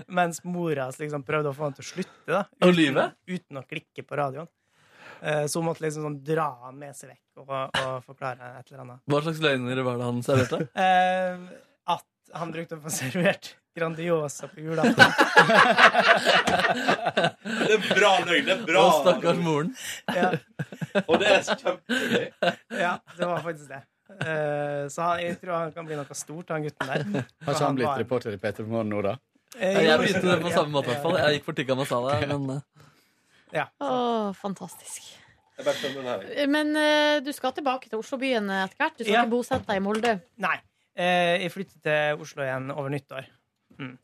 mens mora hans liksom prøvde å få han til å slutte. da Å uten, lyve? uten å klikke på radioen. Eh, Så hun måtte liksom sånn dra han med seg vekk og, og forklare et eller annet. Hva slags løgner var det han serverte? Eh, At han brukte å få servert Grandiosa på julaften. Det er bra løgn. Det er bra. Å, stakkars moren. Ja. Og det er så kjempegøy. Ja, det var faktisk det. Eh, Så han, jeg tror han kan bli noe stort, han gutten der. Har For ikke han blitt var- reporter i P3 Morgen nå, da? Eh, Jeg jo, begynte det på samme måte, i hvert fall. Jeg gikk for tikka masala. Men eh, Å, fantastisk. Jeg bare skjønner den her. jeg. Men eh, du skal tilbake til Oslobyen eh, etter hvert. Du skal Ja. ikke bosette deg i Molde. Nei. eh, Jeg flyttet til Oslo igjen over nyttår. Mm.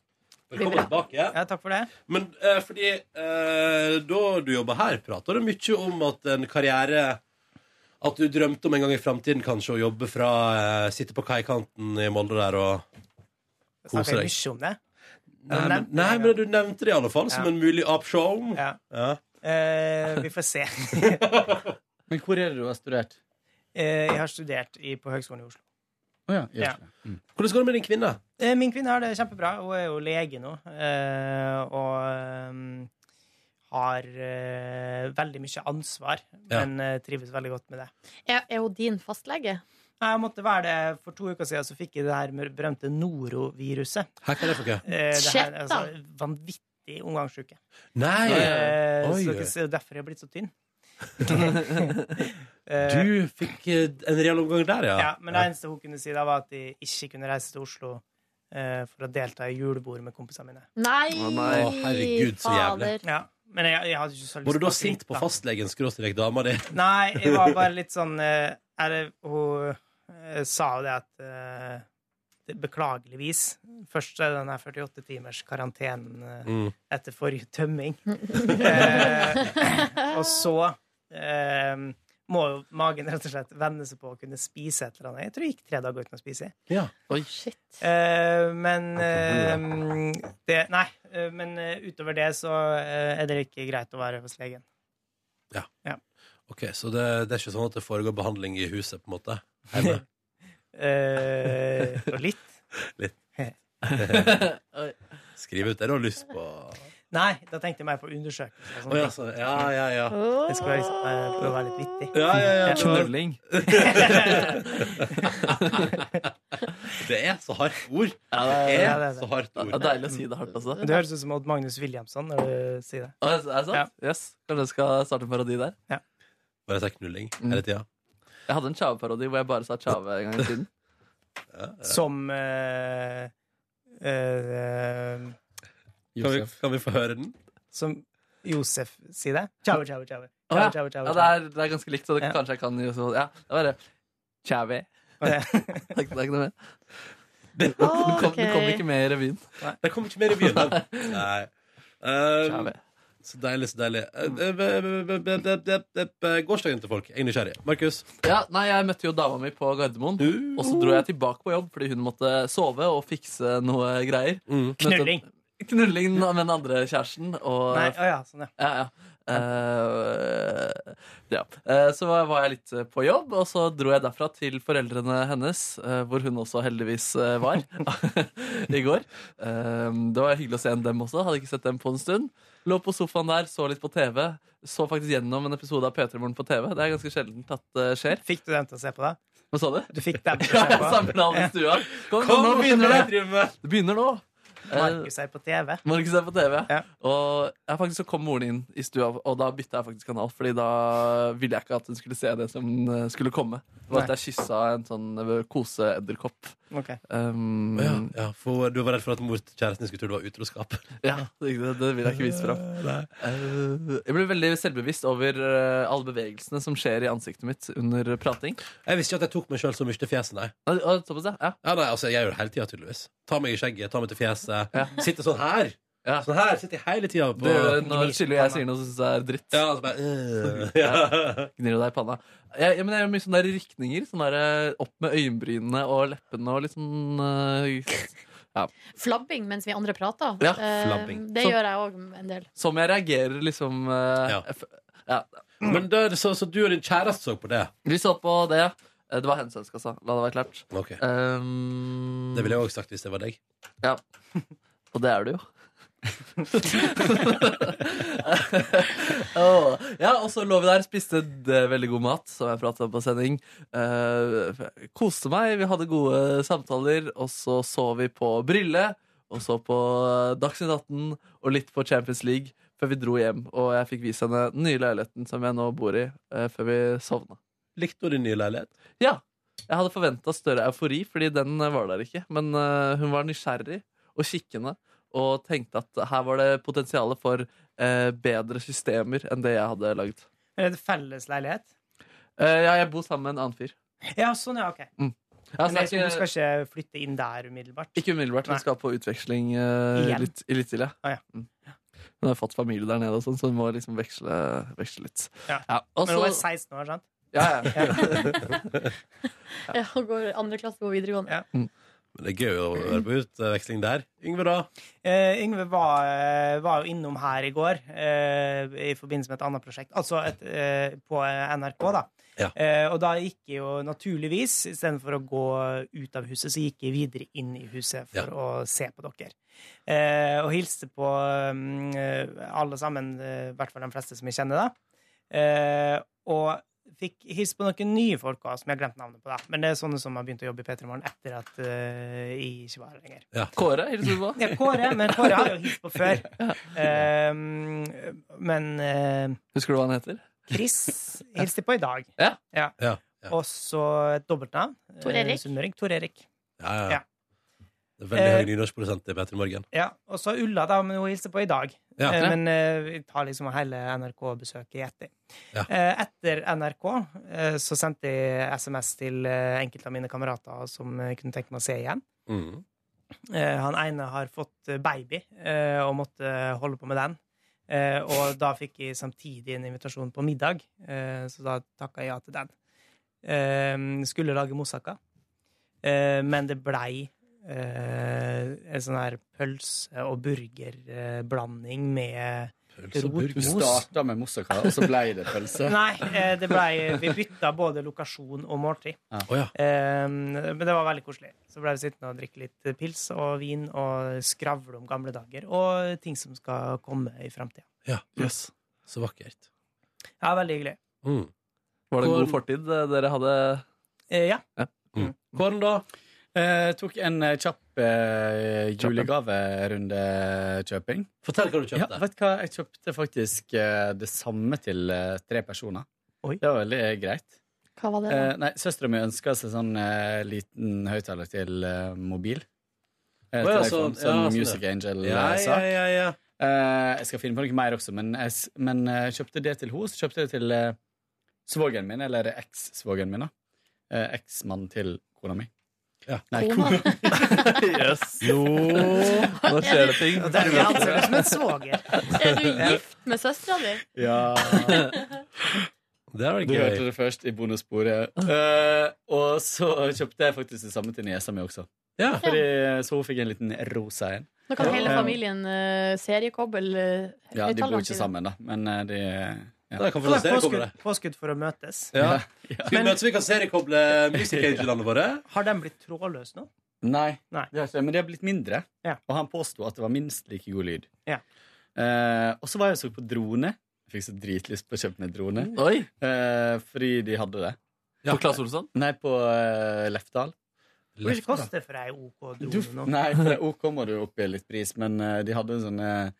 Velkommen tilbake. Ja, takk for det. Men eh, fordi eh, da du jobba her, prata du mye om at en karriere At du drømte om en gang i framtiden kanskje å jobbe fra eh, Sitte på kaikanten i Molde der og kose Snakker jeg deg. mye om det? Nei, men, nei, men du nevnte det i alle fall som Ja. en mulig option. Ja. Ja. Eh, vi får se. Men hvor er det du har studert? Eh, jeg har studert i, på Høgskolen i Oslo. Å ja, i Ja. Oslo. Mm. Hvordan går det med din kvinne? Eh, min kvinne har det kjempebra. Hun er jo lege nå. eh, og eh, har eh, veldig mye ansvar, Ja. men eh, trives veldig godt med det. Er, er hun din fastlege? Nei, Jeg måtte være det For to uker siden så fikk jeg det her med- berømte noroviruset. Her kan jeg få Eh, det her, Shit, da. altså, vanvittig omgangsuke. Nei! Eh, Oi. så dere ser jo derfor jeg er blitt så tynn. Du fikk eh, en reell omgang der, ja. Ja, men det eneste hun kunne si da, var at de ikke kunne reise til Oslo eh, for å delta i julebord med kompisene mine. Nei! Å, nei. Å, herregud, så jævlig. fader. Ja, men jeg, jeg hadde ikke så Var lyst du til da å sint drite. på fastlegen skråstrek dama di? Nei, jeg var bare litt sånn eh, er det, Hun eh, sa jo det at eh, det- Beklageligvis. Først er det den her 48 timers karantenen eh, Mm. etter forrige tømming. eh, og så eh, må jo magen rett og slett venne seg på å kunne spise et eller annet. Jeg tror jeg gikk tre dager uten å spise. Ja. Oi. Shit. Eh, men eh, det, Nei, eh, men eh, utover det så eh, er det ikke greit å være hos legen. Ok, Så det, det er ikke sånn at det foregår behandling i huset, på en måte? Hjemme. Eh, og litt. Litt. Oi. Skriv ut det du har lyst på. Nei, da tenkte jeg mer på undersøkelse. og Å, ja, så, sånt. ja, ja, ja. Jeg skulle liksom, eh, prøve å være litt vittig. Ja, ja, ja. Knøvling. Det er så hardt ord. Det Ja, det er er det. så hardt Det er ord. deilig å si det hardt også. Du høres ut som Odd Magnus Williamson når du sier det. Å, Er det sant? Yes. Kanskje jeg skal starte en parodi der? Bare si knulling Mm. hele tida. Jeg hadde en Tjave-parodi hvor jeg bare sa Tjave en gang i tiden. Som eh, eh, Kan, vi- kan vi få høre den? Som Josef sier det. Tjau, tjau, tjau. Å, ja. Tjau, tjau, tjau, Ja, det, tjau. er, det er ganske likt, så det, Ja. kanskje jeg kan jo så- Ja, det var det. Tjave. Ok. Det er ikke det er ikke noe mer. Ok. Du kom, du kom ikke med i revyen. Det kommer ikke mer i byen. da. Nei. Um, Tjave. så deilig, så deilig. Eh, eh, eh, eh, Gårsdagen til folk. Jeg er nysgjerrig. Markus? Ja, nei, jeg møtte jo dama mi på Gardermoen, og så dro jeg tilbake på jobb fordi hun måtte sove og fikse noe greier. Mm. Møtte- Knulling. Knulling med den andre kjæresten. Og Nei, å ja, sånn, ja. Ja, ja. Eh, ja. Eh, så var jeg litt eh, på jobb, og så dro jeg derfra til foreldrene hennes, eh, hvor hun også heldigvis eh, var i går. Eh, det var hyggelig å se dem også. Hadde ikke sett dem på en stund. Lå på sofaen der, så litt på TV. Så faktisk gjennom en episode av P3 Morgen på TV. Det er ganske sjeldent at det skjer. Fikk du dem til å se på det? Hva sa du? Du fikk dem til Ja, å se jeg på det? samler alle i stua. Kom, kom, nå begynner det! Det begynner nå. Eh, Markus er på TV. Markus er på TV. Ja. Og jeg faktisk så kom moren inn i stua, og da bytta jeg faktisk kanal. Fordi da ville jeg ikke at hun skulle se det som eh, skulle komme. Det var at jeg kyssa en sånn eh, koseedderkopp. Ok. Um, Ja, ja, for du var redd for at mor til kjæresten din skulle tro det var utroskap. ja, det, det vil jeg ikke vise fram. Nei. Eh, jeg ble veldig selvbevisst over eh, alle bevegelsene som skjer i ansiktet mitt under prating. Jeg visste ikke at jeg tok meg sjøl så mye til fjeset, nei. Ah, ah, Såpass, ja. ja. Ja, nei, altså, jeg gjør det hele tida, tydeligvis. Ta meg i skjegget, ta meg til fjeset. Ja. Sitte sånn her. Ja. Sånn her sitter jeg hele tida på Det gjør jeg når Gnir Silje og jeg sier noe som synes jeg er dritt. Ja, altså bare øh, ja. Gnir deg i panna. Jeg, jeg, men jeg gjør mye sånne der rykninger. Sånn der, eh, opp med øyenbrynene og leppene og litt sånn eh, Flabbing mens vi andre prater. Ja, Eh, flabbing. det Så- gjør jeg òg en del. Som jeg reagerer liksom eh, Ja. f- ja. Men der, så, så du og din kjæreste så på det? Vi så på det Eh, Det var hensynskassa, la det være klart. Ok. Um, Det ville jeg òg sagt hvis det var deg. Ja. Og det er du jo. Åh. ja, og så lå vi der, spiste d- veldig god mat, som jeg pratet om på sending. Eh, koste meg, vi hadde gode samtaler, og så så vi på Brille, og så på eh, Dagsnytt 18, og litt på Champions League, før vi dro hjem. Og jeg fikk vise henne den nye leiligheten som jeg nå bor i, eh, før vi sovna. Likte hun din nye leilighet? Ja. Jeg hadde forventa større eufori, fordi den eh, var der ikke. Men eh, hun var nysgjerrig og kikkende og tenkte at her var det potensial for eh, bedre systemer enn det jeg hadde lagd. Er det felles leilighet? Eh, ja, jeg bor sammen med en annen fyr. Ja, sånn, ja. OK. Ja, så Men det er jeg, du skal ikke, ikke flytte inn der umiddelbart? ikke umiddelbart. Nei. Vi skal på utveksling eh, Igjen? Ah, litt, i litt til, ja. Mm. Hun har fått familie der nede, og sånn, så hun må liksom veksle, veksle litt. Ja. og Men hun så- er 16 år, sånn. sant? Ja, ja. Ja, og går andre klasse på videregående. Men det er gøy å være på utveksling der. Yngve, da? Eh, Yngve var, eh, var jo innom her i går eh, i forbindelse med et annet prosjekt, altså et, eh, på eh, NRK, da. Eh, og da gikk jeg jo naturligvis, istedenfor å gå ut av huset, så gikk jeg videre inn i huset for å se på dere. Eh, og hilste på mm, eh, alle sammen, eh, i hvert fall de fleste som jeg kjenner, da. Eh, og fikk hilse på noen nye folk også, som jeg har glemt navnet på, da. Men det er sånne som har begynt å jobbe i P3 Morgen etter at eh, jeg ikke var her lenger. Kåre, hilser du på? Ja, Kåre, men Kåre har jo hilst på før. Ehm, men eh, Husker du hva han heter? Chris hilste på i dag. Ja. Og så et dobbeltnavn. eh, Tor Erik. Sunnmøring. Tor Erik. Ja, ja. Ja. Det er veldig Eh, høy nynorskprosent i Petter Morgen. Ja, Og så Ulla, da, men hun hilser på i dag. Ja. Eh, men eh, vi tar liksom hele NRK-besøket i etter. Eh, etter NRK eh, så sendte jeg SMS til eh, enkelte av mine kamerater som eh, kunne tenke meg å se igjen. Mm. Eh, han ene har fått eh, baby eh, og måtte eh, holde på med den. Eh, og da fikk jeg samtidig en invitasjon på middag, eh, så da takka jeg ja til den. Eh, skulle lage moussaka, eh, men det blei eh, en sånn her pølse- og burgerblanding med rotmos. Du starta med moussaka, og så blei det pølse. Nei, eh, det blei Vi bytta både lokasjon og måltid. Ja. Eh, men det var veldig koselig. Så ble vi sittende og drikke litt pils og vin og skravle om gamle dager og ting som skal komme i framtida. Ja. Så vakkert. Ja, veldig hyggelig. Mm. Var det en god Kåre- fortid eh, dere hadde? Eh, ja. Kåren, da? Eh, tok en eh, kjapp eh, julegaverundekjøping. Fortell hva du kjøpte. Ja, vet du hva? Jeg kjøpte faktisk eh, det samme til eh, tre personer. Det var veldig eh, greit. Hva var det? Eh, da? nei, søstera mi ønska seg sånn eh, liten høyttaler til eh, mobil. Eh, Å, ja, telefon, sånn, sånn, ja, sånn, ja. Music Angel-sak. Ja, ja, ja, ja. Eh, jeg skal finne på noe mer også, men jeg s- men, eh, kjøpte det til henne. Så kjøpte jeg det til eh, svogeren min, eller eks-svogeren min. da. Eh, Eksmannen til kona mi. Nei, kona Jøss. Nå skjer det ting. Der vi altså anser deg som en svoger. Er du gift med søstera di? Ja. Det var du gøy. hørte det først i bonussporet. Eh, og så kjøpte jeg faktisk det samme til niesa mi også. Ja. Fordi, så hun fikk en liten rosa en. Nå kan hele Eh, familien uh, seriekobbel eh, Ja, De bor høyttaleren ikke sin. sammen, da, men eh, de ja. Da kan vi få se, kommer Påskudd, det. påskudd for å møtes. Ja. Skal vi møtes, vi kan seriekoble Music Angel-ene våre? Har de blitt trådløse nå? Nei, Det har ikke, det, men de har blitt mindre. Og han påsto at det var minst like god lyd. Eh, og så var jeg og så på drone. Jeg fikk så dritlyst på å kjøpe meg drone. Eh, fordi de hadde det. På Claes Olsson? Nei, på eh, Lefdal. Hvor mye koster det for ei OK Du, drone nå? nei, for det OK må du opp i litt pris, men eh, de hadde en sånn eh,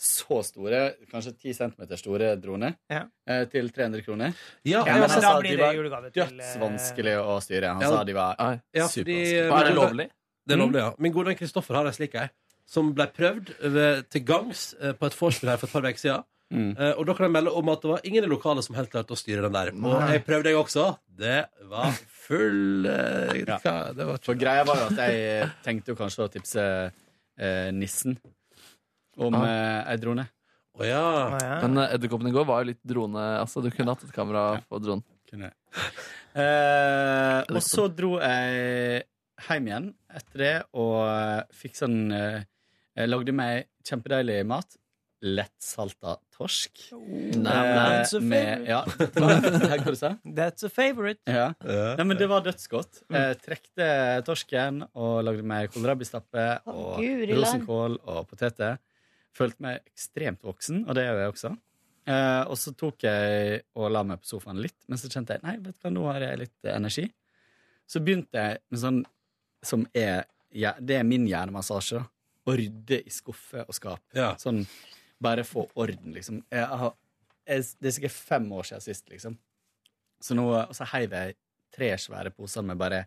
så store, kanskje 10 cm store drone, Ja. eh, til 300 kroner. Ja, men han men da sa de blir det var julegave til, eh, dødsvanskelig å styre. Han Ja, sa de var Ja, fordi, supervanskelige. min gode- Det er lovlig, ja. Min gode venn Kristoffer har en slik ei, som ble prøvd ved, til gangs eh, på et vorspiel her for et par uker siden. Eh, og da kan jeg melde om at det var ingen i lokalet som helt klarte å styre den der. Og Nei. jeg prøvde, jeg også. Det var full eh, hva, det var For greia var jo at jeg eh, tenkte jo kanskje å tipse eh, nissen om Ah. eh, ei drone. Å ja. Men eh, edderkoppen i går var jo litt drone. Altså, du kunne hatt et kamera på dronen. Kunne. Eh, og så sånn. dro jeg hjem igjen etter det eh, og fikk sånn eh, Jeg lagde meg kjempedeilig mat. Lettsalta torsk. Eh, nei. That's a med, ja. Hva du sa du? That's a favorite. Ja. Nei, men det var dødsgodt. Eh, trekte torsken og lagde meg kålrabistappe og Guri land. rosenkål og poteter. Følte meg ekstremt voksen, og det gjør jeg også. Eh, og så tok jeg og la meg på sofaen litt, men så kjente jeg nei, vet du hva, nå har jeg litt eh, energi. Så begynte jeg med sånn som er ja, Det er min hjernemassasje. da. Å rydde i skuffer og skap. Sånn, bare få orden, liksom. Jeg har, jeg, det er sikkert fem år siden sist, liksom. Så nå, og så heiv jeg tre svære poser med bare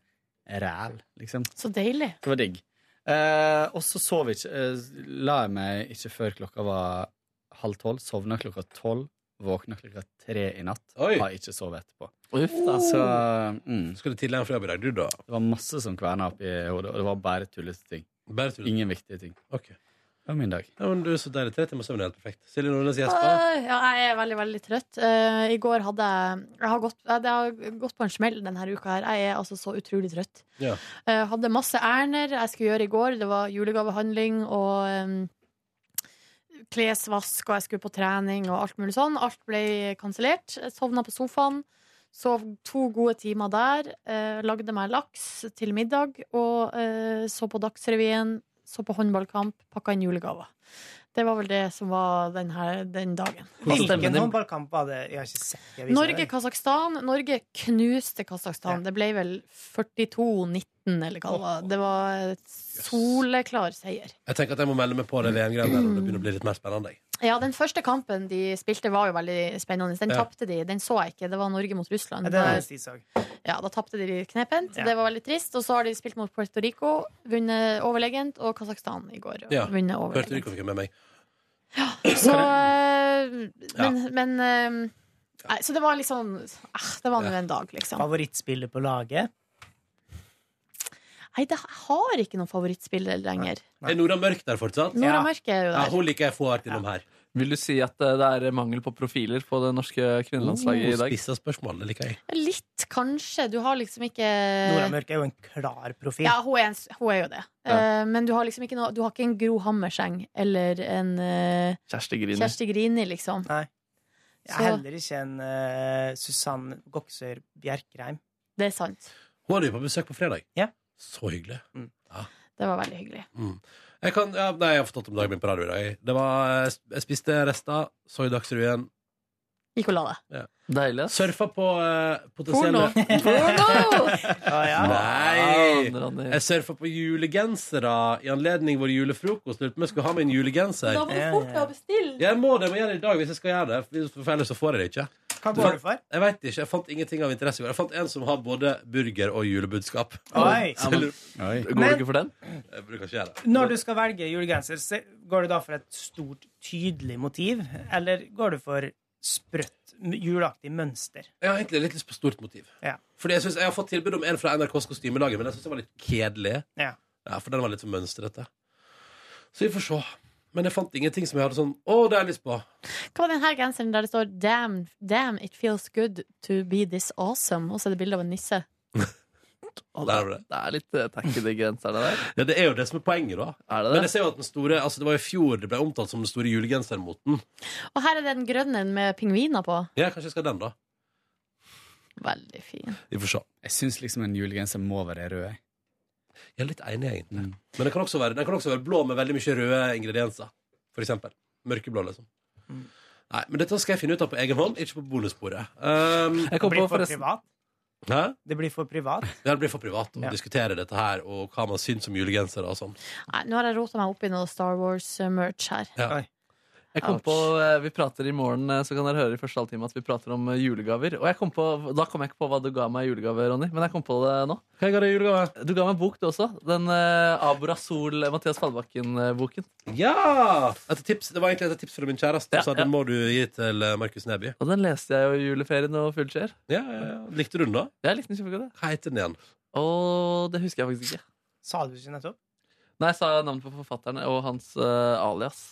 ræl, liksom. Så deilig. Det var digg. Eh, og så sov jeg ikke eh, La jeg meg ikke før klokka var halv tolv. Sovna klokka tolv. Våkna klokka tre i natt. Oi. Har ikke sovet etterpå. Uff da. Så, mm. Skulle tidlig hjem fra jobb i dag, du, da? Det var masse som kverna opp i hodet, og det var bare tullete ting. Ingen viktige ting. Det var min dag. Ja, men du er så deilig. Tre timer søvn er helt perfekt. Silje Nordnes gjespa. Øh, Ja, jeg er veldig, veldig trøtt. Eh, I går hadde jeg jeg har, gått, jeg, det har gått på en smell denne uka her. Jeg er altså så utrolig trøtt. Ja. Eh, hadde masse ærender jeg skulle gjøre i går. Det var julegavehandling og eh, klesvask, og jeg skulle på trening og alt mulig sånn. Alt ble kansellert. Jeg Sovna på sofaen. Sov to gode timer der. eh, lagde meg laks til middag og eh, så på Dagsrevyen. Så på håndballkamp. Pakka inn julegaver. Det var vel det som var den, her, den dagen. Hvilken håndballkamp var det? Jeg har ikke sett de avisene. Norge-Kasakhstan. Norge knuste Kasakhstan. Det ble vel 42-19, eller hva det var. Det var et soleklar seier. Jeg tenker at jeg må melde meg på det VM-greiene der når det begynner å bli litt mer spennende. Ja, den første kampen de spilte, var jo veldig spennende. Den Ja. tapte de. Den så jeg ikke. Det var Norge mot Russland. Ja, det Da- er det jeg så. ja, da tapte de knepent. Det var veldig trist. Og så har de spilt mot Puerto Rico, vunnet overlegent, og Kasakhstan i går. Ja. Vunnet Hørte du overlegent. ikke fikk med meg? Så, øh, Ja. men, men øh, nei, Så det var liksom eh, Det var nå en dag, liksom. Favorittspiller på laget? Nei, det, jeg har ikke noen favorittspiller lenger. Er Nora Mørk der fortsatt? Nora Mørk er jo der. Ja, hun liker jeg få vært innom her. Vil du si at eh, det er mangel på profiler på det norske kvinnelandslaget i dag? Spissa spørsmål, det liker jeg. Litt, kanskje. Du har liksom ikke Nora Mørk er jo en klar profil. Ja, hun er, en, s- hun er jo det. Ja. Eh, men du har liksom ikke noe Du har ikke en Gro Hammerseng eller en eh, Kjersti Grine. Kjersti Grini, liksom. Nei. Jeg Så er heller ikke en eh, Susann Goksør Bjerkreim. det er sant. Hun hadde jo på besøk på fredag. Ja. Så hyggelig. Ja. Det var veldig hyggelig. Mm. Jeg, kan, ja, nei, jeg har forstått om dagen min på radio i dag. Det var, eh, jeg spiste rester, så i Dagsrevyen. Gikk og la deg. Ja. Deilig. Surfa på eh, potensielle Nei! Jeg surfa på julegensere i anledning vår julefrokost. Lurte på om jeg skulle ha med en julegenser. å bestille. Jeg må det, jeg må gjøre det i dag hvis jeg skal gjøre det. For ellers så får jeg det ikke. Hva går det for? Jeg vet ikke, jeg fant ingenting av interesse i går. Jeg fant en som har både burger og julebudskap. Oi. Så jeg lurer- Går Men- du ikke for den? Jeg bruker ikke gjøre det. Når du skal velge julegenser, se- går du da for et stort, tydelig motiv, eller går du for sprøtt, m- juleaktig mønster? Jeg har egentlig litt lyst på stort motiv. Ja. Fordi jeg, synes, jeg har fått tilbud om en fra NRKs kostymelag, men jeg syns den var litt kjedelig. Ja. Ja, For den var litt sånn mønstrete. Så vi får se. Men jeg fant ingenting som jeg hadde sånn Å, det har jeg lyst på. Hva var den her genseren der det står 'Damn, damn it feels good to be this awesome'? Og så er det bilde av en nisse. Å, det, er, det er litt eh, tacky, de genserne der. Ja, Det er jo det som er poenget, da. Er det det? Men jeg ser jo at den store Altså, det var i fjor det ble omtalt som den store julegensermoten. Og her er det den grønne med pingviner på. Ja, kanskje jeg skal ha den, da. Veldig fin. Vi får se. Jeg syns liksom en julegenser må være rød. jeg. Jeg er litt enig, egentlig. Men den kan, også være, den kan også være blå med veldig mye røde ingredienser. For eksempel. Mørkeblå, liksom. Nei, men dette skal jeg finne ut av på egen hånd, ikke på bonussporet. Um, Det blir for privat. Hæ? Det blir for privat. Ja, Det blir for privat å diskutere dette her, og hva man syns om julegensere og sånn. Nei, nå har jeg rota meg opp i noe Star Wars-merch her. Jeg kom Ouch. på, eh, Vi prater i morgen, eh, så kan dere høre i første halvtime at vi prater om eh, julegaver. Og jeg kom på, Da kom jeg ikke på hva du ga meg i julegave, Ronny, men jeg kom på det nå. Hva ga deg i julegave? Du ga meg en bok, du også. Den eh, Abora Sol, eh, Mathias Fallbakken-boken. Ja! Etter tips, det var egentlig etter tips fra min kjæreste, Ja, så den må du gi til eh, Markus Neby. Og den leste jeg jo i juleferien og fullskjer. Ja, ja, ja. Likte du den, da? Jeg likte den kjempegodt. jeg. Hva heter den igjen? Og det husker jeg faktisk ikke. Sa du ikke nettopp? Nei, jeg sa navnet på forfatteren og hans eh, alias.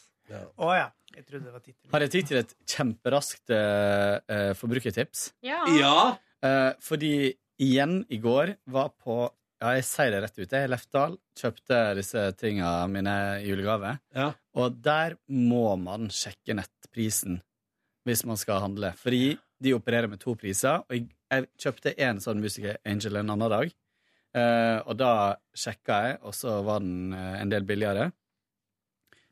Å ja. Jeg trodde det var tittelen. Har jeg tid til et kjemperaskt eh, eh, forbrukertips? Ja. Ja. Eh, fordi igjen i går var på Ja, jeg sier det rett ut. Jeg er i Lefdal. Kjøpte disse tinga mine i julegave. Ja. Og der må man sjekke nettprisen hvis man skal handle. Fordi de opererer med to priser, og jeg, jeg kjøpte en sånn Music Angel en annen dag. Eh, og da sjekka jeg, og så var den eh, en del billigere.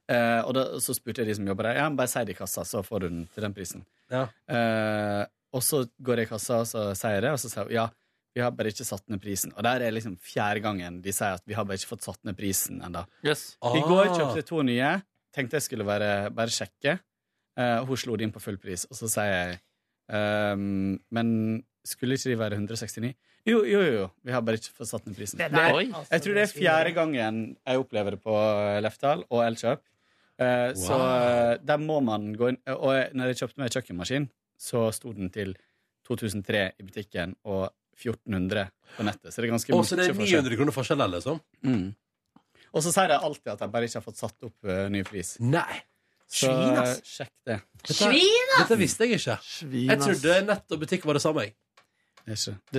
Eh, og da, så spurte jeg de som jobber der, ja, men bare si det i kassa, så får du den til den prisen. Ja. Eh, og så går jeg i kassa, og så sier jeg det, og så sier hun ja, vi har bare ikke satt ned prisen. Og der er liksom fjerde gangen de sier at vi har bare ikke fått satt ned prisen ennå. Yes. I går Ah. kjøpte jeg to nye. Tenkte jeg skulle bare, bare sjekke. Eh, hun slo det inn på full pris, og så sier jeg ehm, Men skulle ikke de være 169? Jo, jo, jo. jo. Vi har bare ikke fått satt ned prisen. Det der, er- Oi. altså, jeg tror det er fjerde gangen jeg opplever det på Lefdal og Elkjøp. Eh, Så Wow. eh, der må man gå inn. Og jeg- når jeg kjøpte meg kjøkkenmaskin, så sto den til 2003 i butikken og 1400 på nettet. Så det er ganske Å, så det er mye forskjell. 900 kroner forskjell her, liksom? Mm. Og så sier de alltid at de bare ikke har fått satt opp eh, ny pris. Nei. Så eh, Svin, altså. ass. sjekk det. Svin, ass! Dette visste jeg ikke. Jeg trodde nett og butikk var det samme. jeg.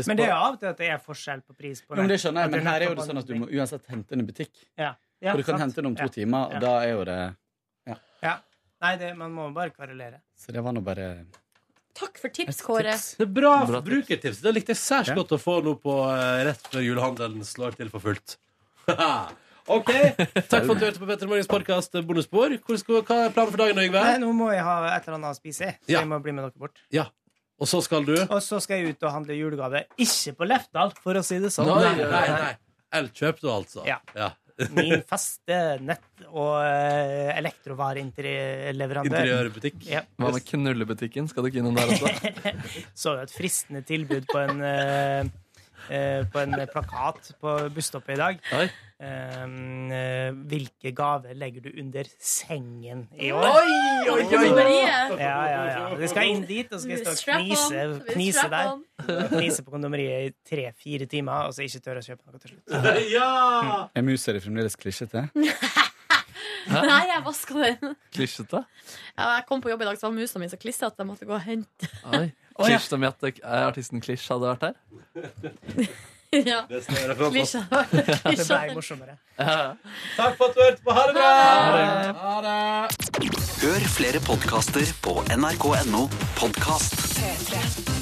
Men det er jo av og til at det er forskjell på pris på Jo, men det nett. skjønner jeg, At men her er jo det nettopp sånn at du en må uansett hente den i butikk. Ja. Ja, For du kan sant. hente den om to Ja. timer, og Ja. da er jo det ja. Ja. Nei, det, man må bare kvarulere. Så det var nå bare Takk for tips, Kåre. Det er bra forbrukertips. Det likte jeg særs godt å få nå på eh, rett før julehandelen slår til for fullt. OK. Takk for at du hørte på Petter Morgens podkast Bonusspor. Hvor skal- Hva er planen for dagen, Yngve? Nei, nå må jeg ha et eller annet å spise, så Ja. jeg må bli med dere bort. Ja. Og så skal du Og så skal jeg ut og handle julegave. Ikke på Lefdal, for å si det sånn. Nei, nei, nei. Elkjøp, du, altså. Ja. Min ja. faste nett- og eh, elektrovareinteriørleverandør. Interiørbutikk. Ja. Hva med knullebutikken? Skal du ikke innom der også? Så jo et fristende tilbud på en, eh, eh, på en plakat på busstoppet i dag. Um, eh, hvilke gaver legger du under sengen i år? Oi, oi, oi! Ja, ja, ja. Det skal inn dit, og så skal jeg stå og knise, Strap on. knise Strap der. on. Knise på kondomeriet i tre-fire timer, og så ikke tørre å kjøpe noe til slutt. Ja! Er musa di fremdeles klisjete? Nei, jeg vaska den. Klisjete? Ja, jeg kom på jobb i dag, så var musa mi så klissete at jeg måtte gå og hente Oi. Klisj som i at det- eh, artisten Klisj hadde vært her? ja. Det skal jeg gjøre for Klisja. Det ble morsommere. Takk for at du hørte på. Ha det bra! Ha det. Hør flere podkaster på nrk.no podkast. P3.